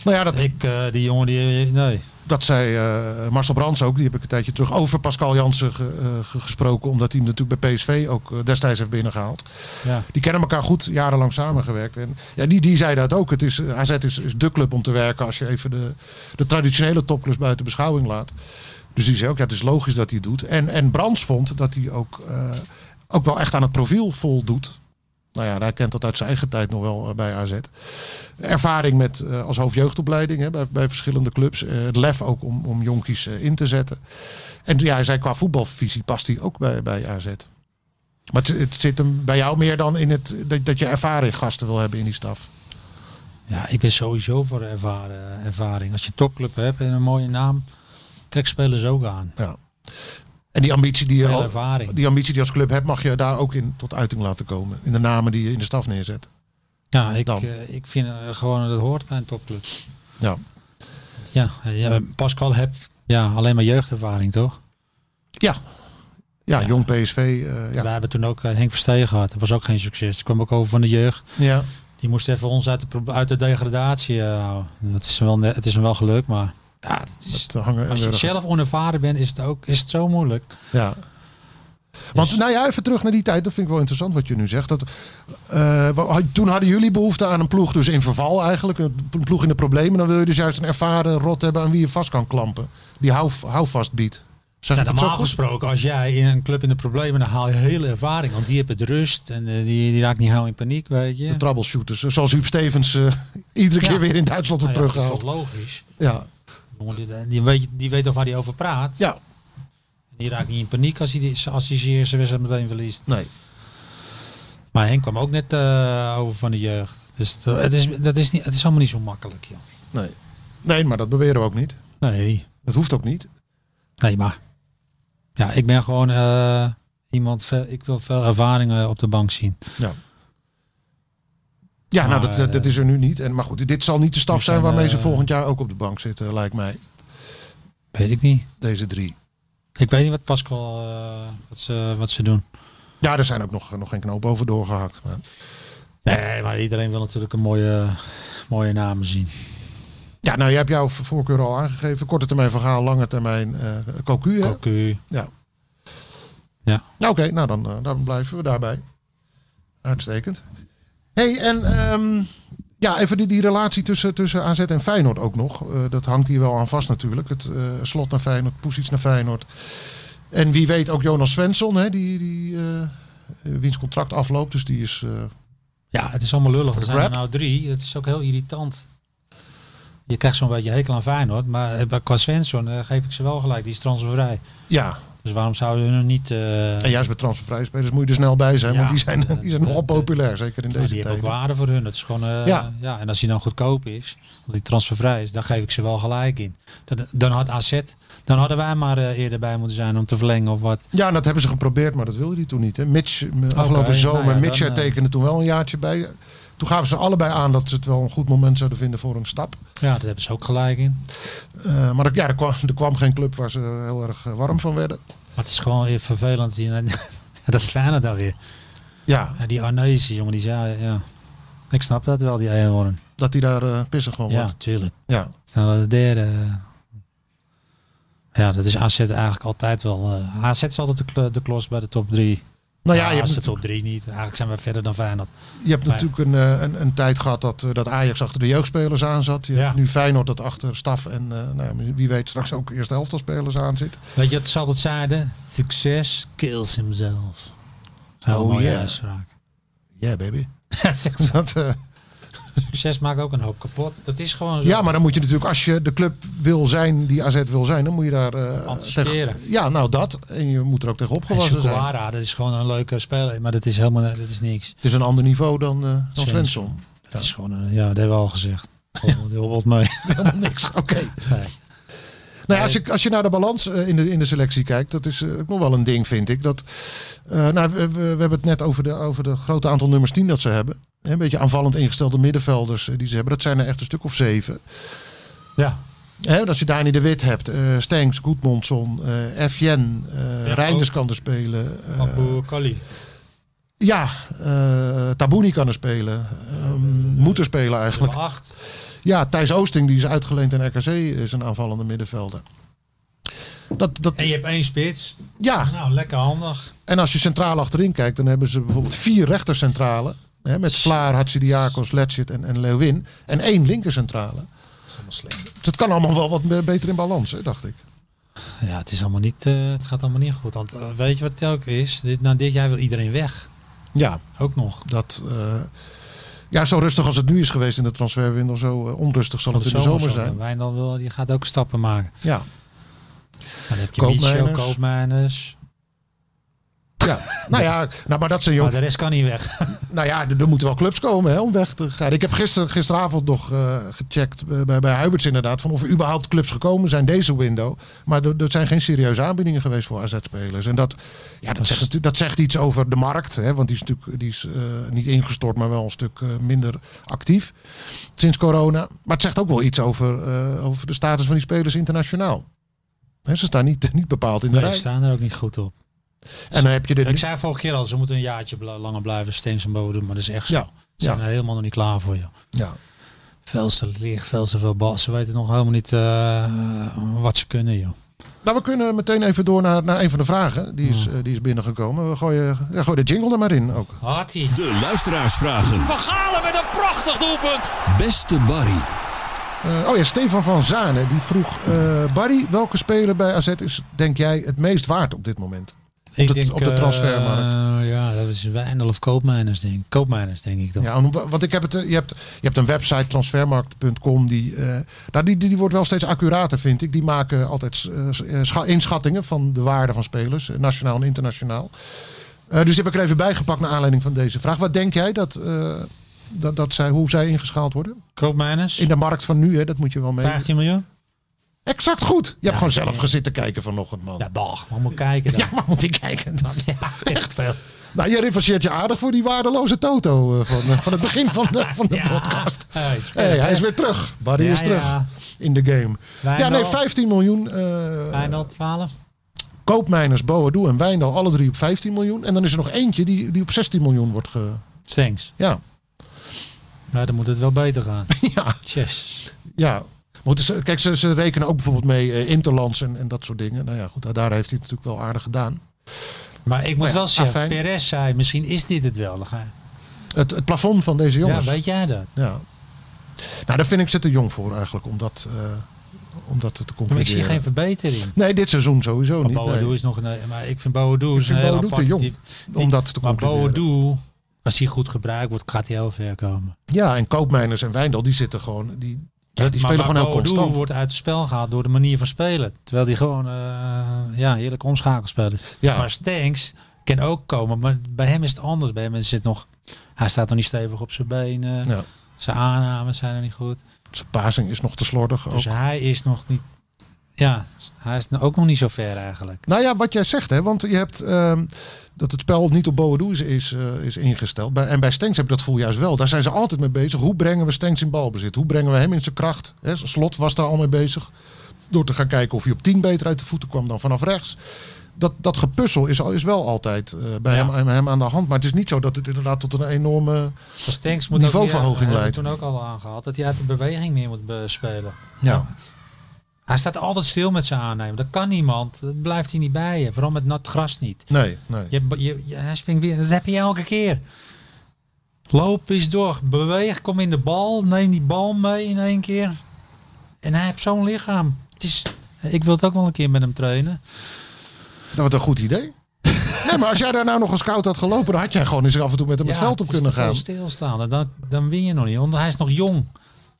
[SPEAKER 4] Nou ja, dat,
[SPEAKER 3] Ik, eh, die jongen, die... Nee.
[SPEAKER 4] dat zei eh, Marcel Brands ook. Die heb ik een tijdje terug over Pascal Jansen ge- eh, ge- gesproken. Omdat hij hem natuurlijk bij PSV ook eh, destijds heeft binnengehaald.
[SPEAKER 3] Ja.
[SPEAKER 4] Die kennen elkaar goed, jarenlang samengewerkt. En ja, die, die zei dat ook. Het is, AZ is, is de club om te werken als je even de, de traditionele topclubs buiten beschouwing laat. Dus die zei ook, ja, het is logisch dat hij het doet. En, en Brands vond dat hij ook, eh, ook wel echt aan het profiel voldoet. Nou ja, hij kent dat uit zijn eigen tijd nog wel eh, bij AZ. Ervaring met, eh, als hoofdjeugdopleiding hè, bij, bij verschillende clubs. Eh, het lef ook om, om jonkies eh, in te zetten. En ja, hij zei qua voetbalvisie past hij ook bij, bij AZ. Maar het, het zit hem bij jou meer dan in het dat, dat je ervaring gasten wil hebben in die staf.
[SPEAKER 3] Ja, ik ben sowieso voor ervaren, ervaring. Als je een topclub hebt en een mooie naam, trek spelers ook aan.
[SPEAKER 4] En die ambitie die je,
[SPEAKER 3] Veel
[SPEAKER 4] al-
[SPEAKER 3] ervaring.
[SPEAKER 4] die ambitie die je als club hebt, mag je daar ook in tot uiting laten komen. In de namen die je in de staf neerzet.
[SPEAKER 3] Ja, ik,
[SPEAKER 4] Dan.
[SPEAKER 3] eh, ik vind eh, gewoon dat het hoort bij een topclub.
[SPEAKER 4] Ja.
[SPEAKER 3] Ja, eh, ja, Pascal heeft ja, alleen maar jeugdervaring, toch?
[SPEAKER 4] Ja, ja,
[SPEAKER 3] Ja.
[SPEAKER 4] jong PSV. eh, ja.
[SPEAKER 3] Wij hebben toen ook eh, Henk Verstegen gehad. Dat was ook geen succes. Die kwam ook over van de jeugd.
[SPEAKER 4] Ja.
[SPEAKER 3] Die moest even ons uit de, pro- uit de degradatie eh, houden. Dat is hem wel, ne- het is hem wel gelukt, maar ja, dat is,
[SPEAKER 4] Het hangen en
[SPEAKER 3] als je
[SPEAKER 4] wurgen.
[SPEAKER 3] zelf onervaren bent, is het, ook, is het zo moeilijk.
[SPEAKER 4] Ja. Want nou ja, even terug naar die tijd. Dat vind ik wel interessant wat je nu zegt. Dat, eh, wa- had- toen hadden jullie behoefte aan een ploeg dus in verval eigenlijk. Een p- ploeg in de problemen. Dan wil je dus juist een ervaren rot hebben aan wie je vast kan klampen. Die hou, houvast biedt. Zeg
[SPEAKER 3] Ja,
[SPEAKER 4] ik het zo
[SPEAKER 3] normaal
[SPEAKER 4] goed?
[SPEAKER 3] gesproken, als jij in een club in de problemen, dan haal je hele ervaring. Want die hebben de rust en eh, die, die raakt niet gauw in paniek, weet je.
[SPEAKER 4] De troubleshooters. Zoals Huub Stevens eh, iedere
[SPEAKER 3] Ja.
[SPEAKER 4] keer weer in Duitsland
[SPEAKER 3] Nou
[SPEAKER 4] wordt
[SPEAKER 3] ja, dat is toch
[SPEAKER 4] teruggehaald.
[SPEAKER 3] logisch.
[SPEAKER 4] Ja.
[SPEAKER 3] Jongen, Die, die, weet, die weet al waar hij over praat.
[SPEAKER 4] ja,
[SPEAKER 3] Die raakt niet in paniek als hij, die- als hij zijn eerste wedstrijd meteen verliest.
[SPEAKER 4] nee.
[SPEAKER 3] Maar Henk kwam ook net eh, over van de jeugd. Dus het, het is, dat is niet, het is allemaal niet zo makkelijk, joh.
[SPEAKER 4] nee. Nee, maar dat beweren we ook niet.
[SPEAKER 3] Nee,
[SPEAKER 4] Dat hoeft ook niet.
[SPEAKER 3] nee maar... Ja, ik ben gewoon eh, iemand... Veel, ik wil veel ervaringen op de bank zien.
[SPEAKER 4] Ja, nou,
[SPEAKER 3] Maar,
[SPEAKER 4] dat, dat, dat is er nu niet. En, maar goed, dit zal niet de staf
[SPEAKER 3] dit
[SPEAKER 4] zijn
[SPEAKER 3] zijn,
[SPEAKER 4] waarmee ze
[SPEAKER 3] eh,
[SPEAKER 4] volgend jaar ook op de bank zitten, lijkt mij.
[SPEAKER 3] Weet ik niet.
[SPEAKER 4] Deze drie.
[SPEAKER 3] Ik weet niet wat Pascal... eh, wat, ze, wat ze doen.
[SPEAKER 4] Ja, er zijn ook nog, nog geen knoop over doorgehakt. Maar...
[SPEAKER 3] Nee, maar iedereen wil natuurlijk een mooie, mooie naam zien.
[SPEAKER 4] Ja, nou, je hebt jouw voorkeur al aangegeven. Korte termijn verhaal, lange termijn eh cocu. hè?
[SPEAKER 3] Cocu.
[SPEAKER 4] Nou, Oké, nou dan, eh, dan blijven we daarbij. Uitstekend. hey, en ehm, ja, even die, die relatie tussen, tussen AZ en Feyenoord ook nog. Eh, dat hangt hier wel aan vast natuurlijk. Het eh, slot naar Feyenoord, Poesiets naar Feyenoord. Eh, En wie weet ook Jonas Svensson, hè, die, die, eh, wiens contract afloopt. Dus die is... eh,
[SPEAKER 3] Ja, het is allemaal lullig. Er
[SPEAKER 4] de
[SPEAKER 3] zijn er
[SPEAKER 4] grab?
[SPEAKER 3] nou drie. Het is ook heel irritant. Je krijgt zo'n beetje hekel aan Feyenoord. Maar eh, bij- qua Svensson eh, geef ik ze wel gelijk. Die is transfervrij.
[SPEAKER 4] ja,
[SPEAKER 3] Dus waarom zouden we hem niet... eh,
[SPEAKER 4] en juist bij transfervrije spelers moet je er snel bij zijn.
[SPEAKER 3] Ja.
[SPEAKER 4] Want die zijn, die zijn nogal populair, zeker in
[SPEAKER 3] Nou,
[SPEAKER 4] deze
[SPEAKER 3] die hebben
[SPEAKER 4] tijd.
[SPEAKER 3] ook waarde voor hun. Het is gewoon, eh, ja.
[SPEAKER 4] Ja.
[SPEAKER 3] En als hij dan goedkoop is, want die transfervrij is, dan geef ik ze wel gelijk in. Dan, dan had AZ, dan hadden wij maar eh, eerder bij moeten zijn om te verlengen of wat.
[SPEAKER 4] Ja, en dat hebben ze geprobeerd, maar dat wilde hij toen niet. Hè. Mitch, eh, afgelopen
[SPEAKER 3] nou
[SPEAKER 4] zomer,
[SPEAKER 3] ja, dan,
[SPEAKER 4] Mitch
[SPEAKER 3] eh,
[SPEAKER 4] tekende toen wel een jaartje bij. Toen gaven ze allebei aan dat ze het wel een goed moment zouden vinden voor een stap.
[SPEAKER 3] Ja, daar hebben ze ook gelijk in.
[SPEAKER 4] Eh, maar er, ja, er, kwam, er kwam geen club waar ze heel erg eh, warm van werden.
[SPEAKER 3] Maar het is gewoon weer vervelend. Die, dat fijne dan weer.
[SPEAKER 4] Ja,
[SPEAKER 3] Ja, die Arnezen, jongen, die zei, ja. Ik snap dat wel, die Eindhoorn.
[SPEAKER 4] dat hij daar eh pissig gewoon
[SPEAKER 3] Ja,
[SPEAKER 4] wordt.
[SPEAKER 3] natuurlijk.
[SPEAKER 4] Ja.
[SPEAKER 3] Nou, de derde. eh, Ja, dat is AZ eigenlijk altijd wel. eh, AZ is altijd de, kl- de klos bij de top drie.
[SPEAKER 4] Nou ja, je hebt,
[SPEAKER 3] als de
[SPEAKER 4] natuurlijk-
[SPEAKER 3] top drie niet. Eigenlijk zijn we verder dan Feyenoord.
[SPEAKER 4] je hebt
[SPEAKER 3] Nee.
[SPEAKER 4] natuurlijk een, eh, een, een tijd gehad dat, eh, dat Ajax achter de jeugdspelers aan zat. Je
[SPEAKER 3] Ja.
[SPEAKER 4] hebt nu Feyenoord dat achter Staf en eh, nou, ja, wie weet straks ook eerste helftspelers aan zit.
[SPEAKER 3] Weet je wat ze altijd zeiden? Succes kills himself. Zo'n
[SPEAKER 4] Oh,
[SPEAKER 3] mooie
[SPEAKER 4] ja.
[SPEAKER 3] uitspraak.
[SPEAKER 4] Ja, baby.
[SPEAKER 3] Dat zegt ze.
[SPEAKER 4] Dat, eh,
[SPEAKER 3] Succes maakt ook een hoop kapot. Dat is gewoon zo.
[SPEAKER 4] ja, maar dan moet je natuurlijk, als je de club wil zijn die AZ wil zijn, dan moet je daar... eh,
[SPEAKER 3] Anticiperen.
[SPEAKER 4] tegen- ja, nou dat. En je moet er ook tegen
[SPEAKER 3] En
[SPEAKER 4] opgewassen zijn.
[SPEAKER 3] Chukwuara, dat is gewoon een leuke speler. Maar dat is helemaal dat is niks.
[SPEAKER 4] Het is een ander niveau dan, eh dan Svensson.
[SPEAKER 3] Dat is gewoon, een, ja, dat hebben we al gezegd. Oh, die hobbelt mee.
[SPEAKER 4] Helemaal niks, oké.
[SPEAKER 3] Nee.
[SPEAKER 4] Nou, ja, als, je, als je naar de balans eh, in, de, in de selectie kijkt, dat is eh, ook nog wel een ding, vind ik. Dat, eh, nou, we, we- we hebben het net over de, over de grote aantal nummers 10 dat ze hebben. Hè, Een beetje aanvallend ingestelde middenvelders eh, die ze hebben. Dat zijn er echt een stuk of zeven.
[SPEAKER 3] Ja,
[SPEAKER 4] Hè, want als je Dani de Wit hebt, eh Stenks, Goedmondson, eh Fjen, eh
[SPEAKER 3] Ja,
[SPEAKER 4] Reinders
[SPEAKER 3] ook.
[SPEAKER 4] kan er spelen. eh,
[SPEAKER 3] Abu Kali.
[SPEAKER 4] ja, eh Tabouni kan er spelen. ehm, moet er spelen eigenlijk.
[SPEAKER 3] Nummer 8.
[SPEAKER 4] Ja, Thijs Oosting die is uitgeleend aan RKC, is een aanvallende middenvelder. Dat, dat,
[SPEAKER 3] En je hebt één spits.
[SPEAKER 4] ja,
[SPEAKER 3] Nou, lekker handig.
[SPEAKER 4] En als je centraal achterin kijkt, dan hebben ze bijvoorbeeld vier rechtercentrale. Hè, met Vlaar, Hatsidiakos, Letchit en, en Leeuwin. En één linkercentrale.
[SPEAKER 3] Dat is allemaal slim.
[SPEAKER 4] Dus het kan allemaal wel wat me- beter in balans, hè, dacht ik.
[SPEAKER 3] Ja, het, is allemaal niet, eh, het gaat allemaal niet goed. Want eh, weet je wat het ook is? Dit, na dit jaar wil iedereen weg.
[SPEAKER 4] Ja,
[SPEAKER 3] Ook nog.
[SPEAKER 4] dat, eh, ja, zo rustig als het nu is geweest in de transferwindow, zo eh, onrustig zal het in de zomer zijn.
[SPEAKER 3] Wijndal wil, die gaat ook stappen maken. Nou,
[SPEAKER 4] Ja,
[SPEAKER 3] Dan heb je
[SPEAKER 4] Koopmijners.
[SPEAKER 3] Michel, Koopmijners.
[SPEAKER 4] ja. nou ja, nou, maar dat zijn
[SPEAKER 3] Maar
[SPEAKER 4] jongens.
[SPEAKER 3] de rest kan niet weg.
[SPEAKER 4] Nou ja, er, er moeten wel clubs komen hè, om weg te gaan. Ik heb gister, gisteravond nog eh, gecheckt eh, bij, bij Huberts inderdaad... van of er überhaupt clubs gekomen zijn deze window. Maar er, er zijn geen serieuze aanbiedingen geweest voor AZ-spelers. En dat, ja, dat, zegt, natuurlijk- dat zegt iets over de markt. Hè, want die is natuurlijk die is, eh, niet ingestort, maar wel een stuk eh, minder actief sinds corona. Maar het zegt ook wel iets over, eh, over de status van die spelers internationaal. Hè, ze staan niet, niet bepaald in de
[SPEAKER 3] Nee, ze
[SPEAKER 4] rij.
[SPEAKER 3] staan er ook niet goed op.
[SPEAKER 4] En dan heb je
[SPEAKER 3] Ik
[SPEAKER 4] dit...
[SPEAKER 3] zei vorige keer al, ze moeten een jaartje bla- langer blijven steens en bodem. Maar dat is echt zo.
[SPEAKER 4] Ja,
[SPEAKER 3] Ze zijn
[SPEAKER 4] ja.
[SPEAKER 3] er helemaal nog niet klaar voor, joh.
[SPEAKER 4] ja.
[SPEAKER 3] Veel te licht, veel te veel bal. Ze weten nog helemaal niet eh, wat ze kunnen, joh.
[SPEAKER 4] Nou, we kunnen meteen even door naar, naar een van de vragen. Die is, eh, die is binnengekomen. We gooien, ja, gooi de jingle er maar in ook.
[SPEAKER 3] Had hij.
[SPEAKER 5] De luisteraarsvragen.
[SPEAKER 6] Van Galen met een prachtig doelpunt.
[SPEAKER 5] Beste Barry.
[SPEAKER 4] Eh, oh ja, Stefan van Zanen die vroeg... eh, Barry, welke speler bij AZ is, denk jij, het meest waard op dit moment?
[SPEAKER 3] Ik
[SPEAKER 4] de- op de
[SPEAKER 3] eh,
[SPEAKER 4] transfermarkt.
[SPEAKER 3] ja, dat is Wijndal of Koopmijners, denk ik. Koopmijners, denk ik dan.
[SPEAKER 4] Ja, om- want ik heb het, eh, je, hebt, je hebt een website, transfermarkt.com. Die, eh, nou, die, die, die wordt wel steeds accurater, vind ik. Die maken altijd eh, s- eh, scha- inschattingen van de waarde van spelers. eh, Nationaal en internationaal. Eh, dus die heb ik er even bijgepakt naar aanleiding van deze vraag. Wat denk jij dat... eh, dat, dat zij, hoe zij ingeschaald worden?
[SPEAKER 3] Koopmijners,
[SPEAKER 4] In de markt van nu, hè, dat moet je wel mee.
[SPEAKER 3] 15 miljoen?
[SPEAKER 4] Exact goed. Je hebt gewoon zelf
[SPEAKER 3] ja.
[SPEAKER 4] gezitten kijken vanochtend, man.
[SPEAKER 3] Ja,
[SPEAKER 4] Ja,
[SPEAKER 3] dag. Maar moet kijken dan.
[SPEAKER 4] maar moet ik kijken dan.
[SPEAKER 3] Ja, echt veel.
[SPEAKER 4] Nou, je revancheert je aardig voor die waardeloze Toto eh, van, eh, van het begin van de, van de
[SPEAKER 3] Ja.
[SPEAKER 4] podcast.
[SPEAKER 3] Ah,
[SPEAKER 4] Eh,
[SPEAKER 3] Hey,
[SPEAKER 4] Hey, hij is weer terug. Barry
[SPEAKER 3] Ja,
[SPEAKER 4] is terug
[SPEAKER 3] ja.
[SPEAKER 4] in de game. Ja,
[SPEAKER 3] Wijndal.
[SPEAKER 4] nee, 15 miljoen. eh
[SPEAKER 3] Wijndal 12.
[SPEAKER 4] Koopmijners, Boadu en Wijndal, alle drie op 15 miljoen. En dan is er nog eentje die, die op 16 miljoen wordt ge...
[SPEAKER 3] Stengs.
[SPEAKER 4] Ja,
[SPEAKER 3] Ja, Nou, dan moet het wel beter gaan.
[SPEAKER 4] ja,
[SPEAKER 3] Tjes.
[SPEAKER 4] ja. Want ze- kijk, ze, ze rekenen ook bijvoorbeeld mee eh, Interlands en, en dat soort dingen. Nou ja, goed, daar- daar heeft hij het natuurlijk wel aardig gedaan.
[SPEAKER 3] Maar ik moet
[SPEAKER 4] Nou ja,
[SPEAKER 3] wel zeggen,
[SPEAKER 4] afijn.
[SPEAKER 3] Perez zei, misschien is dit het wel. Dan ga je-
[SPEAKER 4] Het, het plafond van deze
[SPEAKER 3] Ja,
[SPEAKER 4] jongens.
[SPEAKER 3] weet jij dat?
[SPEAKER 4] Ja. Nou, daar vind ik ze te jong voor eigenlijk om dat, eh, om dat te
[SPEAKER 3] Maar ik
[SPEAKER 4] concluderen.
[SPEAKER 3] zie geen verbetering.
[SPEAKER 4] Nee, dit seizoen sowieso eh, niet. nee.
[SPEAKER 3] Boadu is nog een, eh, maar ik vind Boadu is
[SPEAKER 4] vind
[SPEAKER 3] een heel
[SPEAKER 4] Boadu te
[SPEAKER 3] aparte
[SPEAKER 4] jong
[SPEAKER 3] type.
[SPEAKER 4] om dat te
[SPEAKER 3] Maar
[SPEAKER 4] concluderen.
[SPEAKER 3] Boadu, als hij goed gebruikt wordt, gaat hij heel ver komen.
[SPEAKER 4] Ja, en Koopmeiners en Wijndal, die zitten gewoon... Die,
[SPEAKER 3] Dat-
[SPEAKER 4] die
[SPEAKER 3] maar-
[SPEAKER 4] spelen
[SPEAKER 3] maar
[SPEAKER 4] gewoon heel
[SPEAKER 3] Boadu
[SPEAKER 4] constant.
[SPEAKER 3] wordt uit het spel gehaald door de manier van spelen. Terwijl hij gewoon eh, ja, heerlijk omschakelspeler is.
[SPEAKER 4] Ja.
[SPEAKER 3] Maar Stanks kan ook komen, maar bij hem is het anders. Bij hem zit nog, hij staat nog niet stevig op zijn benen.
[SPEAKER 4] Ja.
[SPEAKER 3] Zijn aannames zijn er niet goed.
[SPEAKER 4] Zijn passing is nog te slordig ook.
[SPEAKER 3] Dus hij is nog niet, ja, hij is ook nog niet zo ver eigenlijk.
[SPEAKER 4] Nou ja, wat jij zegt, hè, want je hebt ehm, dat het spel niet op Boadu is, is, eh, is ingesteld. Bij, en bij Stenks heb je dat voel juist wel. Daar zijn ze altijd mee bezig. Hoe brengen we Stenks in balbezit? Hoe brengen we hem in zijn kracht? Hè, slot was daar al mee bezig. Door te gaan kijken of hij op 10 meter uit de voeten kwam dan vanaf rechts. Dat, dat gepuzzel is, al- is wel altijd eh, bij hem, hem, hem aan de hand. Maar het is niet zo dat het inderdaad tot een enorme...
[SPEAKER 3] Dus Stanks moet ook
[SPEAKER 4] Niveauverhoging
[SPEAKER 3] weer, eh,
[SPEAKER 4] leidt.
[SPEAKER 3] hebben we toen ook al aangehaald, dat hij uit de beweging meer moet eh, spelen.
[SPEAKER 4] Ja,
[SPEAKER 3] Hij staat altijd stil met zijn aannemen. Dat kan niemand. Dat blijft hij niet bij je. Vooral met nat gras niet.
[SPEAKER 4] nee, nee.
[SPEAKER 3] Je, je, je- hij springt weer. Dat heb je elke keer. Loop eens door. Beweeg. Kom in de bal. Neem die bal mee in één keer. En hij heeft zo'n lichaam. Het is, ik wil het ook wel een keer met hem trainen.
[SPEAKER 4] Dat was Nou, een goed idee. nee, maar als jij daar nou nog als scout had gelopen... dan had jij gewoon eens af en toe met hem het veld op kunnen gaan.
[SPEAKER 3] stilstaan. En dan, dan win je nog niet. Want hij is nog jong.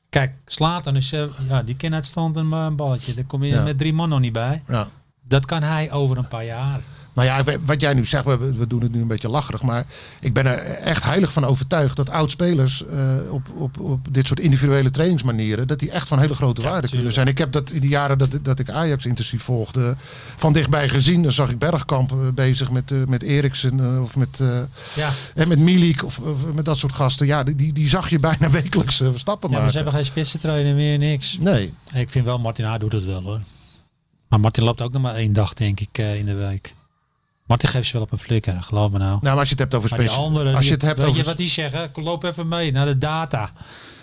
[SPEAKER 3] Kijk, Slatan is... eh, Ja, die kan uit stand een, eh, balletje. Daar kom je
[SPEAKER 4] Ja.
[SPEAKER 3] met drie man nog niet bij.
[SPEAKER 4] Ja.
[SPEAKER 3] Dat kan hij over een paar jaar.
[SPEAKER 4] Nou ja, we- wat jij nu zegt, we, we doen het nu een beetje lacherig. Maar ik ben er echt heilig van overtuigd dat oud-spelers eh, op, op, op dit soort individuele trainingsmanieren, dat die echt van hele grote waarde kunnen zijn. Ik heb dat in de jaren dat, dat ik Ajax intensief volgde, van dichtbij gezien. Dan zag ik Bergkamp eh, bezig met, eh, met Eriksen eh, of met, eh,
[SPEAKER 3] Ja.
[SPEAKER 4] en met Milik of, of met dat soort gasten. Ja, die- die, die zag je bijna wekelijks eh, stappen
[SPEAKER 3] Ja, maar ze
[SPEAKER 4] maken.
[SPEAKER 3] hebben geen spitsentrainer meer, niks.
[SPEAKER 4] Nee, Nou,
[SPEAKER 3] Ik vind wel, Martin Haar doet het wel hoor. Maar Martin loopt ook nog maar één dag, denk ik, eh, in de week. Martin geeft ze wel op een flikker, geloof me nou.
[SPEAKER 4] nou, maar als je het hebt over
[SPEAKER 3] Maar die
[SPEAKER 4] speciaal.
[SPEAKER 3] anderen,
[SPEAKER 4] Als je
[SPEAKER 3] die-
[SPEAKER 4] het hebt
[SPEAKER 3] weet
[SPEAKER 4] over.
[SPEAKER 3] je wat die zeggen? Loop even mee naar de data.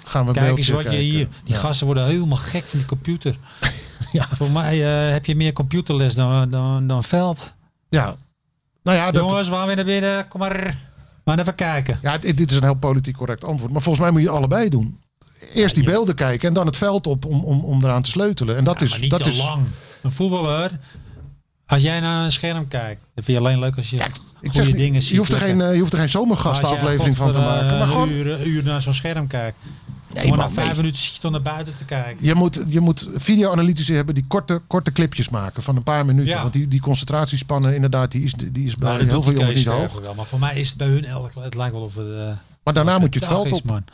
[SPEAKER 4] gaan we een
[SPEAKER 3] Kijk eens
[SPEAKER 4] beeldje
[SPEAKER 3] wat je
[SPEAKER 4] kijken.
[SPEAKER 3] hier... Die
[SPEAKER 4] Ja.
[SPEAKER 3] gasten worden helemaal gek van die computer.
[SPEAKER 4] Ja.
[SPEAKER 3] Voor mij eh, heb je meer computerles dan, dan, dan veld.
[SPEAKER 4] Ja. Nou ja, dat,
[SPEAKER 3] Jongens, waar weer naar binnen? Kom maar, maar even kijken.
[SPEAKER 4] Ja, dit dit is een heel politiek correct antwoord. Maar volgens mij moet je allebei doen. Eerst die beelden kijken en dan het veld op om, om, om eraan te sleutelen. En dat
[SPEAKER 3] maar
[SPEAKER 4] is.
[SPEAKER 3] niet
[SPEAKER 4] Dus Dat
[SPEAKER 3] te
[SPEAKER 4] is
[SPEAKER 3] lang. Een voetballer, als jij naar een scherm kijkt, dat vind je alleen leuk als je
[SPEAKER 4] ik
[SPEAKER 3] goede
[SPEAKER 4] zeg niet,
[SPEAKER 3] dingen ziet.
[SPEAKER 4] je, hoeft er geen,
[SPEAKER 3] lekker.
[SPEAKER 4] eh, je hoeft er geen zomergastenaflevering van te
[SPEAKER 3] Als jij
[SPEAKER 4] maken. Maar
[SPEAKER 3] godver,
[SPEAKER 4] gewoon.
[SPEAKER 3] eh, Een uur, een uur naar zo'n scherm kijkt.
[SPEAKER 4] Nee,
[SPEAKER 3] Gewoon
[SPEAKER 4] man,
[SPEAKER 3] na vijf
[SPEAKER 4] nee.
[SPEAKER 3] minuten zit je toch naar buiten te kijken.
[SPEAKER 4] Je moet, je moet videoanalytici hebben die korte, korte clipjes maken van een paar minuten.
[SPEAKER 3] Ja. Nou,
[SPEAKER 4] Want die, die concentratiespannen, inderdaad, die is, die is bij heel veel jongens niet hoog.
[SPEAKER 3] Wel, maar voor mij is het bij hun elk, het lijkt wel of het... eh,
[SPEAKER 4] Maar daarna moet je het
[SPEAKER 3] dag is,
[SPEAKER 4] veld op.
[SPEAKER 3] Man.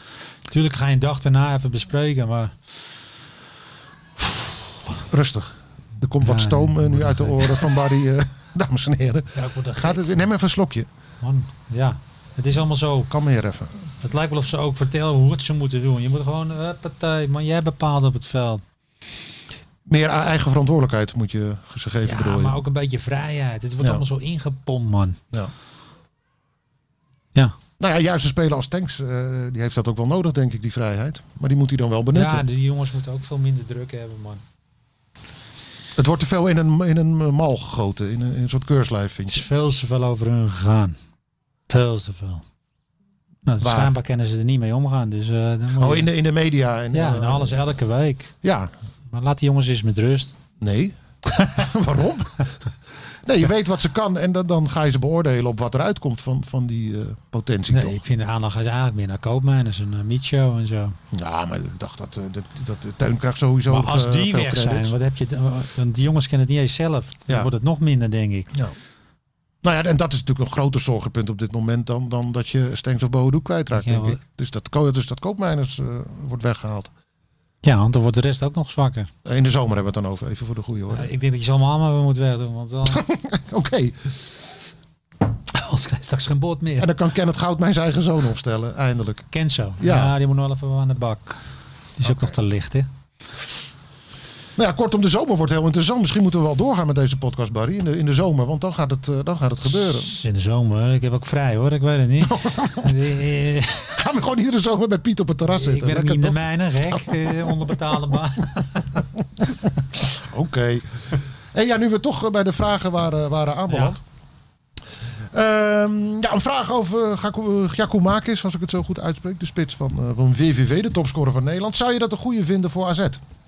[SPEAKER 3] Tuurlijk ga je een dag daarna even bespreken, maar...
[SPEAKER 4] Rustig. Er komt wat
[SPEAKER 3] Ja,
[SPEAKER 4] stoom eh, nu uit de oren van Barry. eh, dames en heren.
[SPEAKER 3] Ja, ik word er
[SPEAKER 4] Gaat
[SPEAKER 3] gek
[SPEAKER 4] het, neem even een slokje.
[SPEAKER 3] van. Ja, het is allemaal zo.
[SPEAKER 4] Kan meer even.
[SPEAKER 3] Het lijkt wel of ze ook vertellen hoe het ze moeten doen. Je moet gewoon, partij, man, jij bepaalt op het veld.
[SPEAKER 4] Meer eigen verantwoordelijkheid moet je ze geven, bedoel
[SPEAKER 3] Ja,
[SPEAKER 4] je.
[SPEAKER 3] maar ook een beetje vrijheid. Het wordt
[SPEAKER 4] Ja.
[SPEAKER 3] allemaal zo ingepompt, man.
[SPEAKER 4] Ja.
[SPEAKER 3] Ja.
[SPEAKER 4] Nou ja, juist een speler als Tanks, eh, die heeft dat ook wel nodig, denk ik, die vrijheid. Maar die moet hij dan wel benutten.
[SPEAKER 3] Ja, die jongens moeten ook veel minder druk hebben, man.
[SPEAKER 4] Het wordt te veel in een, in een eh, mal gegoten, in een, in een soort keurslijf, vind
[SPEAKER 3] Het is
[SPEAKER 4] je.
[SPEAKER 3] veel te veel over hun gegaan. Veel te veel. Nou,
[SPEAKER 4] Waar?
[SPEAKER 3] schijnbaar kennen ze er niet mee omgaan. Dus, eh, dan moet
[SPEAKER 4] Oh,
[SPEAKER 3] je-
[SPEAKER 4] in de, in de media. En,
[SPEAKER 3] Ja,
[SPEAKER 4] eh,
[SPEAKER 3] en alles elke week.
[SPEAKER 4] Ja,
[SPEAKER 3] Maar laat die jongens eens met rust.
[SPEAKER 4] nee. Waarom? nee, je weet wat ze kan en dan, dan ga je ze beoordelen op wat eruit komt van, van die eh, potentie,
[SPEAKER 3] Nee,
[SPEAKER 4] toch?
[SPEAKER 3] ik vind de aandacht is eigenlijk meer naar Koopmijners en naar Micho en zo.
[SPEAKER 4] Ja, maar ik dacht dat, eh, dat, dat de Teun krijgt sowieso
[SPEAKER 3] maar als
[SPEAKER 4] eh,
[SPEAKER 3] die
[SPEAKER 4] veel
[SPEAKER 3] weg
[SPEAKER 4] credits.
[SPEAKER 3] zijn, wat heb je, dan- want die jongens kennen het niet eens zelf. Dan
[SPEAKER 4] Ja.
[SPEAKER 3] wordt het nog minder, denk ik.
[SPEAKER 4] Ja. Nou ja, en dat is natuurlijk een groter zorgenpunt op dit moment dan, dan dat je Stengs of Boadu kwijtraakt,
[SPEAKER 3] Ja,
[SPEAKER 4] denk
[SPEAKER 3] wel.
[SPEAKER 4] ik. Dus dat, ko- dus dat koopmijners eh, wordt weggehaald.
[SPEAKER 3] Ja, want dan wordt de rest ook nog zwakker.
[SPEAKER 4] Eh, In de zomer hebben we het dan over, even voor de goede hoor.
[SPEAKER 3] Ja, ik denk dat je ze allemaal maar weer moet wegdoen, want dan,
[SPEAKER 4] Oké,
[SPEAKER 3] anders krijg je straks geen boord
[SPEAKER 4] en
[SPEAKER 3] meer.
[SPEAKER 4] dan kan Kenneth Goud mijn eigen zoon opstellen, eindelijk.
[SPEAKER 3] Kenzo, ja.
[SPEAKER 4] Ja.
[SPEAKER 3] die moet nog wel even aan de bak. Die is ook nog te licht, hè?
[SPEAKER 4] Nou ja, kortom, de zomer wordt heel interessant. Misschien moeten we wel doorgaan met deze podcast, Barry, in de, in de zomer. Want dan gaat het, eh, dan gaat het gebeuren.
[SPEAKER 3] Het is in de zomer, ik heb ook vrij hoor, ik weet het niet. Eh,
[SPEAKER 4] Gaan we gewoon iedere zomer bij Piet op het
[SPEAKER 3] ik
[SPEAKER 4] terras zitten.
[SPEAKER 3] ben ook niet in de
[SPEAKER 4] Lekker,
[SPEAKER 3] mijne, gek, eh, onderbetaalde baan.
[SPEAKER 4] toch? Oké. En ja, nu we toch eh, bij de vragen waren, waren aanbeland. Ehm, ja, een vraag over Gaku- eh, Giacoumakis, als ik het zo goed uitspreek. De spits van, eh, van VVV, de topscorer van Nederland. Zou je dat een goede vinden voor AZ?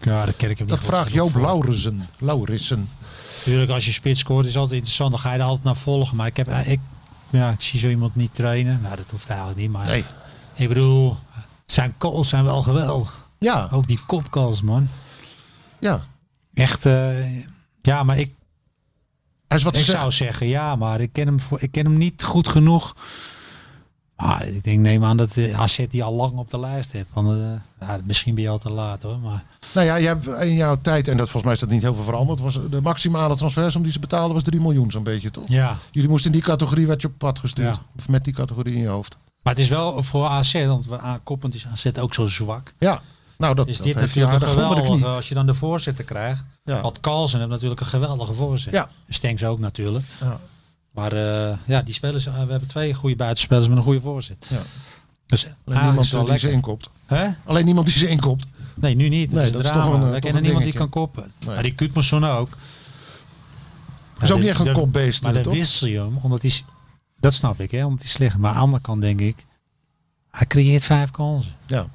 [SPEAKER 3] Ja, dat ken ik hem
[SPEAKER 4] Dat
[SPEAKER 3] niet.
[SPEAKER 4] vraagt Joop Laurissen. Laurissen.
[SPEAKER 3] Natuurlijk, als je spits scoort is altijd interessant. Dan ga je er altijd naar volgen. Maar ik, heb, eh, ik, ja, ik zie zo iemand niet trainen. Nou, dat hoeft eigenlijk niet. Maar
[SPEAKER 4] Nee.
[SPEAKER 3] ik bedoel, zijn calls zijn wel geweldig.
[SPEAKER 4] Ja,
[SPEAKER 3] Ook die kopcalls, man.
[SPEAKER 4] ja.
[SPEAKER 3] Echt, eh, ja, maar ik,
[SPEAKER 4] Hij is wat
[SPEAKER 3] ik
[SPEAKER 4] ze
[SPEAKER 3] zou
[SPEAKER 4] zeggen.
[SPEAKER 3] zeggen ja, maar ik ken hem, voor, ik ken hem niet goed genoeg. Maar ik denk, neem aan dat eh, AZ die al lang op de lijst heeft. Want, eh, ja, misschien ben je al te laat hoor. Maar
[SPEAKER 4] Nou ja, jij hebt in jouw tijd, en dat volgens mij is dat niet heel veel veranderd, was de maximale transfersom die ze betaalden was 3 miljoen zo'n beetje, toch?
[SPEAKER 3] ja,
[SPEAKER 4] Jullie moesten in die categorie werd je op pad gestuurd.
[SPEAKER 3] Ja.
[SPEAKER 4] Of met die categorie in je hoofd.
[SPEAKER 3] maar het is wel voor AZ, want we aankoppend is AZ ook zo zwak.
[SPEAKER 4] Ja, nou dat,
[SPEAKER 3] Is
[SPEAKER 4] dat
[SPEAKER 3] dit
[SPEAKER 4] heeft hij
[SPEAKER 3] natuurlijk een
[SPEAKER 4] aardig onder de
[SPEAKER 3] geweldige,
[SPEAKER 4] knie.
[SPEAKER 3] als je dan de voorzitter krijgt.
[SPEAKER 4] Ja.
[SPEAKER 3] Want Carlsen heeft natuurlijk een geweldige voorzet.
[SPEAKER 4] Ja.
[SPEAKER 3] Stenks ook natuurlijk.
[SPEAKER 4] Ja.
[SPEAKER 3] Maar eh, ja, die spelers, eh, we hebben twee goede buitenspelers met een goede voorzet.
[SPEAKER 4] Ja.
[SPEAKER 3] Dus
[SPEAKER 4] Alleen
[SPEAKER 3] eigenlijk is
[SPEAKER 4] niemand
[SPEAKER 3] het wel
[SPEAKER 4] die ze
[SPEAKER 3] lekker.
[SPEAKER 4] inkopt.
[SPEAKER 3] Hè?
[SPEAKER 4] Alleen niemand die ze inkopt.
[SPEAKER 3] Nee, nu niet. Dat
[SPEAKER 4] Nee,
[SPEAKER 3] is,
[SPEAKER 4] dat
[SPEAKER 3] dat
[SPEAKER 4] is
[SPEAKER 3] drama.
[SPEAKER 4] toch een, eh,
[SPEAKER 3] We
[SPEAKER 4] toch
[SPEAKER 3] kennen
[SPEAKER 4] een
[SPEAKER 3] niemand die
[SPEAKER 4] dingetje.
[SPEAKER 3] kan koppen.
[SPEAKER 4] Nee.
[SPEAKER 3] Maar die Kutmerson ook.
[SPEAKER 4] Is ook
[SPEAKER 3] Ja,
[SPEAKER 4] niet echt een
[SPEAKER 3] daar-
[SPEAKER 4] kopbeest,
[SPEAKER 3] Maar
[SPEAKER 4] eh,
[SPEAKER 3] dan
[SPEAKER 4] toch?
[SPEAKER 3] wissel je hem, omdat hij... s- Dat snap ik, hè, omdat hij slecht is. Maar aan de andere kant denk ik... Hij creëert vijf kansen.
[SPEAKER 4] Ja.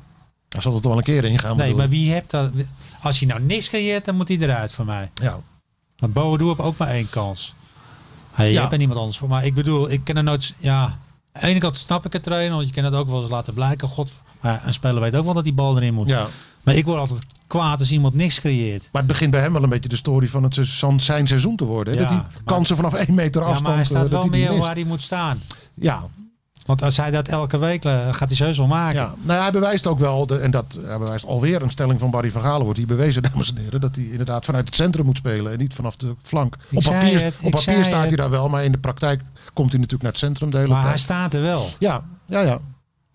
[SPEAKER 4] Hij zal het wel een keer ingaan.
[SPEAKER 3] Nee,
[SPEAKER 4] bedoel
[SPEAKER 3] maar
[SPEAKER 4] ik.
[SPEAKER 3] wie hebt dat... Als hij nou niks creëert, dan moet hij eruit voor mij.
[SPEAKER 4] Ja.
[SPEAKER 3] Want Boadu heb ook maar één kans. Hey,
[SPEAKER 4] Ja.
[SPEAKER 3] Je hebt er niemand anders voor. Maar ik bedoel, ik ken er nooit... Ja, aan de ene kant snap ik het trainen, want je kan het ook wel eens laten blijken. God, maar een speler weet ook wel dat die bal erin moet.
[SPEAKER 4] ja.
[SPEAKER 3] Maar ik word altijd kwaad als iemand niks creëert.
[SPEAKER 4] Maar het begint bij hem wel een beetje de story van, het, se- van zijn seizoen te worden. hè?
[SPEAKER 3] Ja,
[SPEAKER 4] dat hij
[SPEAKER 3] maar-
[SPEAKER 4] kansen vanaf 1 meter afstand...
[SPEAKER 3] ja, maar hij
[SPEAKER 4] eh,
[SPEAKER 3] staat
[SPEAKER 4] dat
[SPEAKER 3] wel
[SPEAKER 4] hij die
[SPEAKER 3] meer
[SPEAKER 4] mist.
[SPEAKER 3] waar hij moet staan.
[SPEAKER 4] Ja,
[SPEAKER 3] Want als hij dat elke week eh, gaat hij zeus wel maken.
[SPEAKER 4] ja. Nou, ja, hij bewijst ook wel, de, en dat hij bewijst alweer een stelling van Barry van Galen wordt hier bewezen, dames en heren, dat hij inderdaad vanuit het centrum moet spelen en niet vanaf de flank. op
[SPEAKER 3] zei
[SPEAKER 4] papier,
[SPEAKER 3] het,
[SPEAKER 4] op
[SPEAKER 3] ik
[SPEAKER 4] papier
[SPEAKER 3] zei
[SPEAKER 4] staat hij
[SPEAKER 3] het.
[SPEAKER 4] daar wel, maar in de praktijk komt hij natuurlijk naar het centrum de hele
[SPEAKER 3] maar hij
[SPEAKER 4] tijd.
[SPEAKER 3] staat er wel.
[SPEAKER 4] Ja, ja, ja.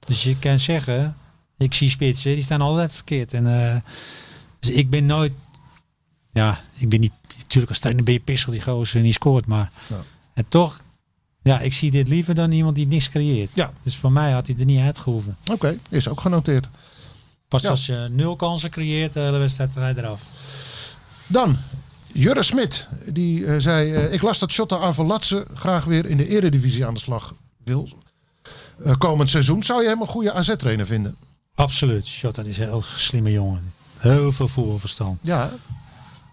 [SPEAKER 3] Dus je kan zeggen, ik zie spitsen, die staan altijd verkeerd. En, eh, dus ik ben nooit, ja, ik ben niet, natuurlijk als trainer ben je pissel die gozer en die scoort. Maar
[SPEAKER 4] Ja.
[SPEAKER 3] en toch, ja, ik zie dit liever dan iemand die niks creëert.
[SPEAKER 4] Ja.
[SPEAKER 3] Dus voor mij had hij er niet uitgehoeven.
[SPEAKER 4] Oké, is ook genoteerd.
[SPEAKER 3] Pas
[SPEAKER 4] Ja.
[SPEAKER 3] als je nul kansen creëert, de hele wedstrijd draai je eraf.
[SPEAKER 4] Dan, Jurre Smit. Die eh, zei, eh, ik las dat Shotta Arvelatse graag weer in de eredivisie aan de slag wil eh, komend seizoen. Zou je hem een goede AZ-trainer vinden?
[SPEAKER 3] Absoluut. Shot, dat is een heel slimme jongen. Heel veel voetbalverstand.
[SPEAKER 4] Ja,
[SPEAKER 3] Hij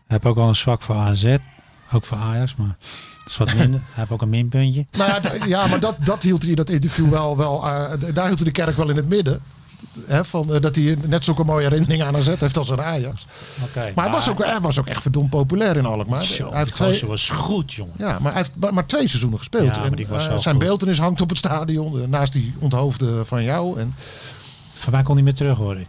[SPEAKER 3] heeft ook al een zwak voor AZ. Ook voor Ajax, maar dat is wat minder. Hij heeft ook een minpuntje.
[SPEAKER 4] nou ja, d- ja maar dat, dat hield hij in dat interview wel, wel eh, d- daar hield hij de kerk wel in het midden. Hè, van, eh, dat hij net zulke mooie herinneringen aan AZ heeft als aan Ajax.
[SPEAKER 3] Oké.
[SPEAKER 4] Maar hij was ook, hij was ook echt verdomd populair in Alkmaar.
[SPEAKER 3] Zo,
[SPEAKER 4] hij heeft
[SPEAKER 3] die gozer
[SPEAKER 4] twee,
[SPEAKER 3] was goed, jongen.
[SPEAKER 4] ja, maar hij heeft maar, maar twee seizoenen gespeeld.
[SPEAKER 3] Ja, maar
[SPEAKER 4] En,
[SPEAKER 3] die was
[SPEAKER 4] eh,
[SPEAKER 3] wel
[SPEAKER 4] zijn
[SPEAKER 3] goed.
[SPEAKER 4] beeldenis hangt op het stadion eh, naast die onthoofde van jou. En,
[SPEAKER 3] Van mij kon hij meer terug, hoor ik.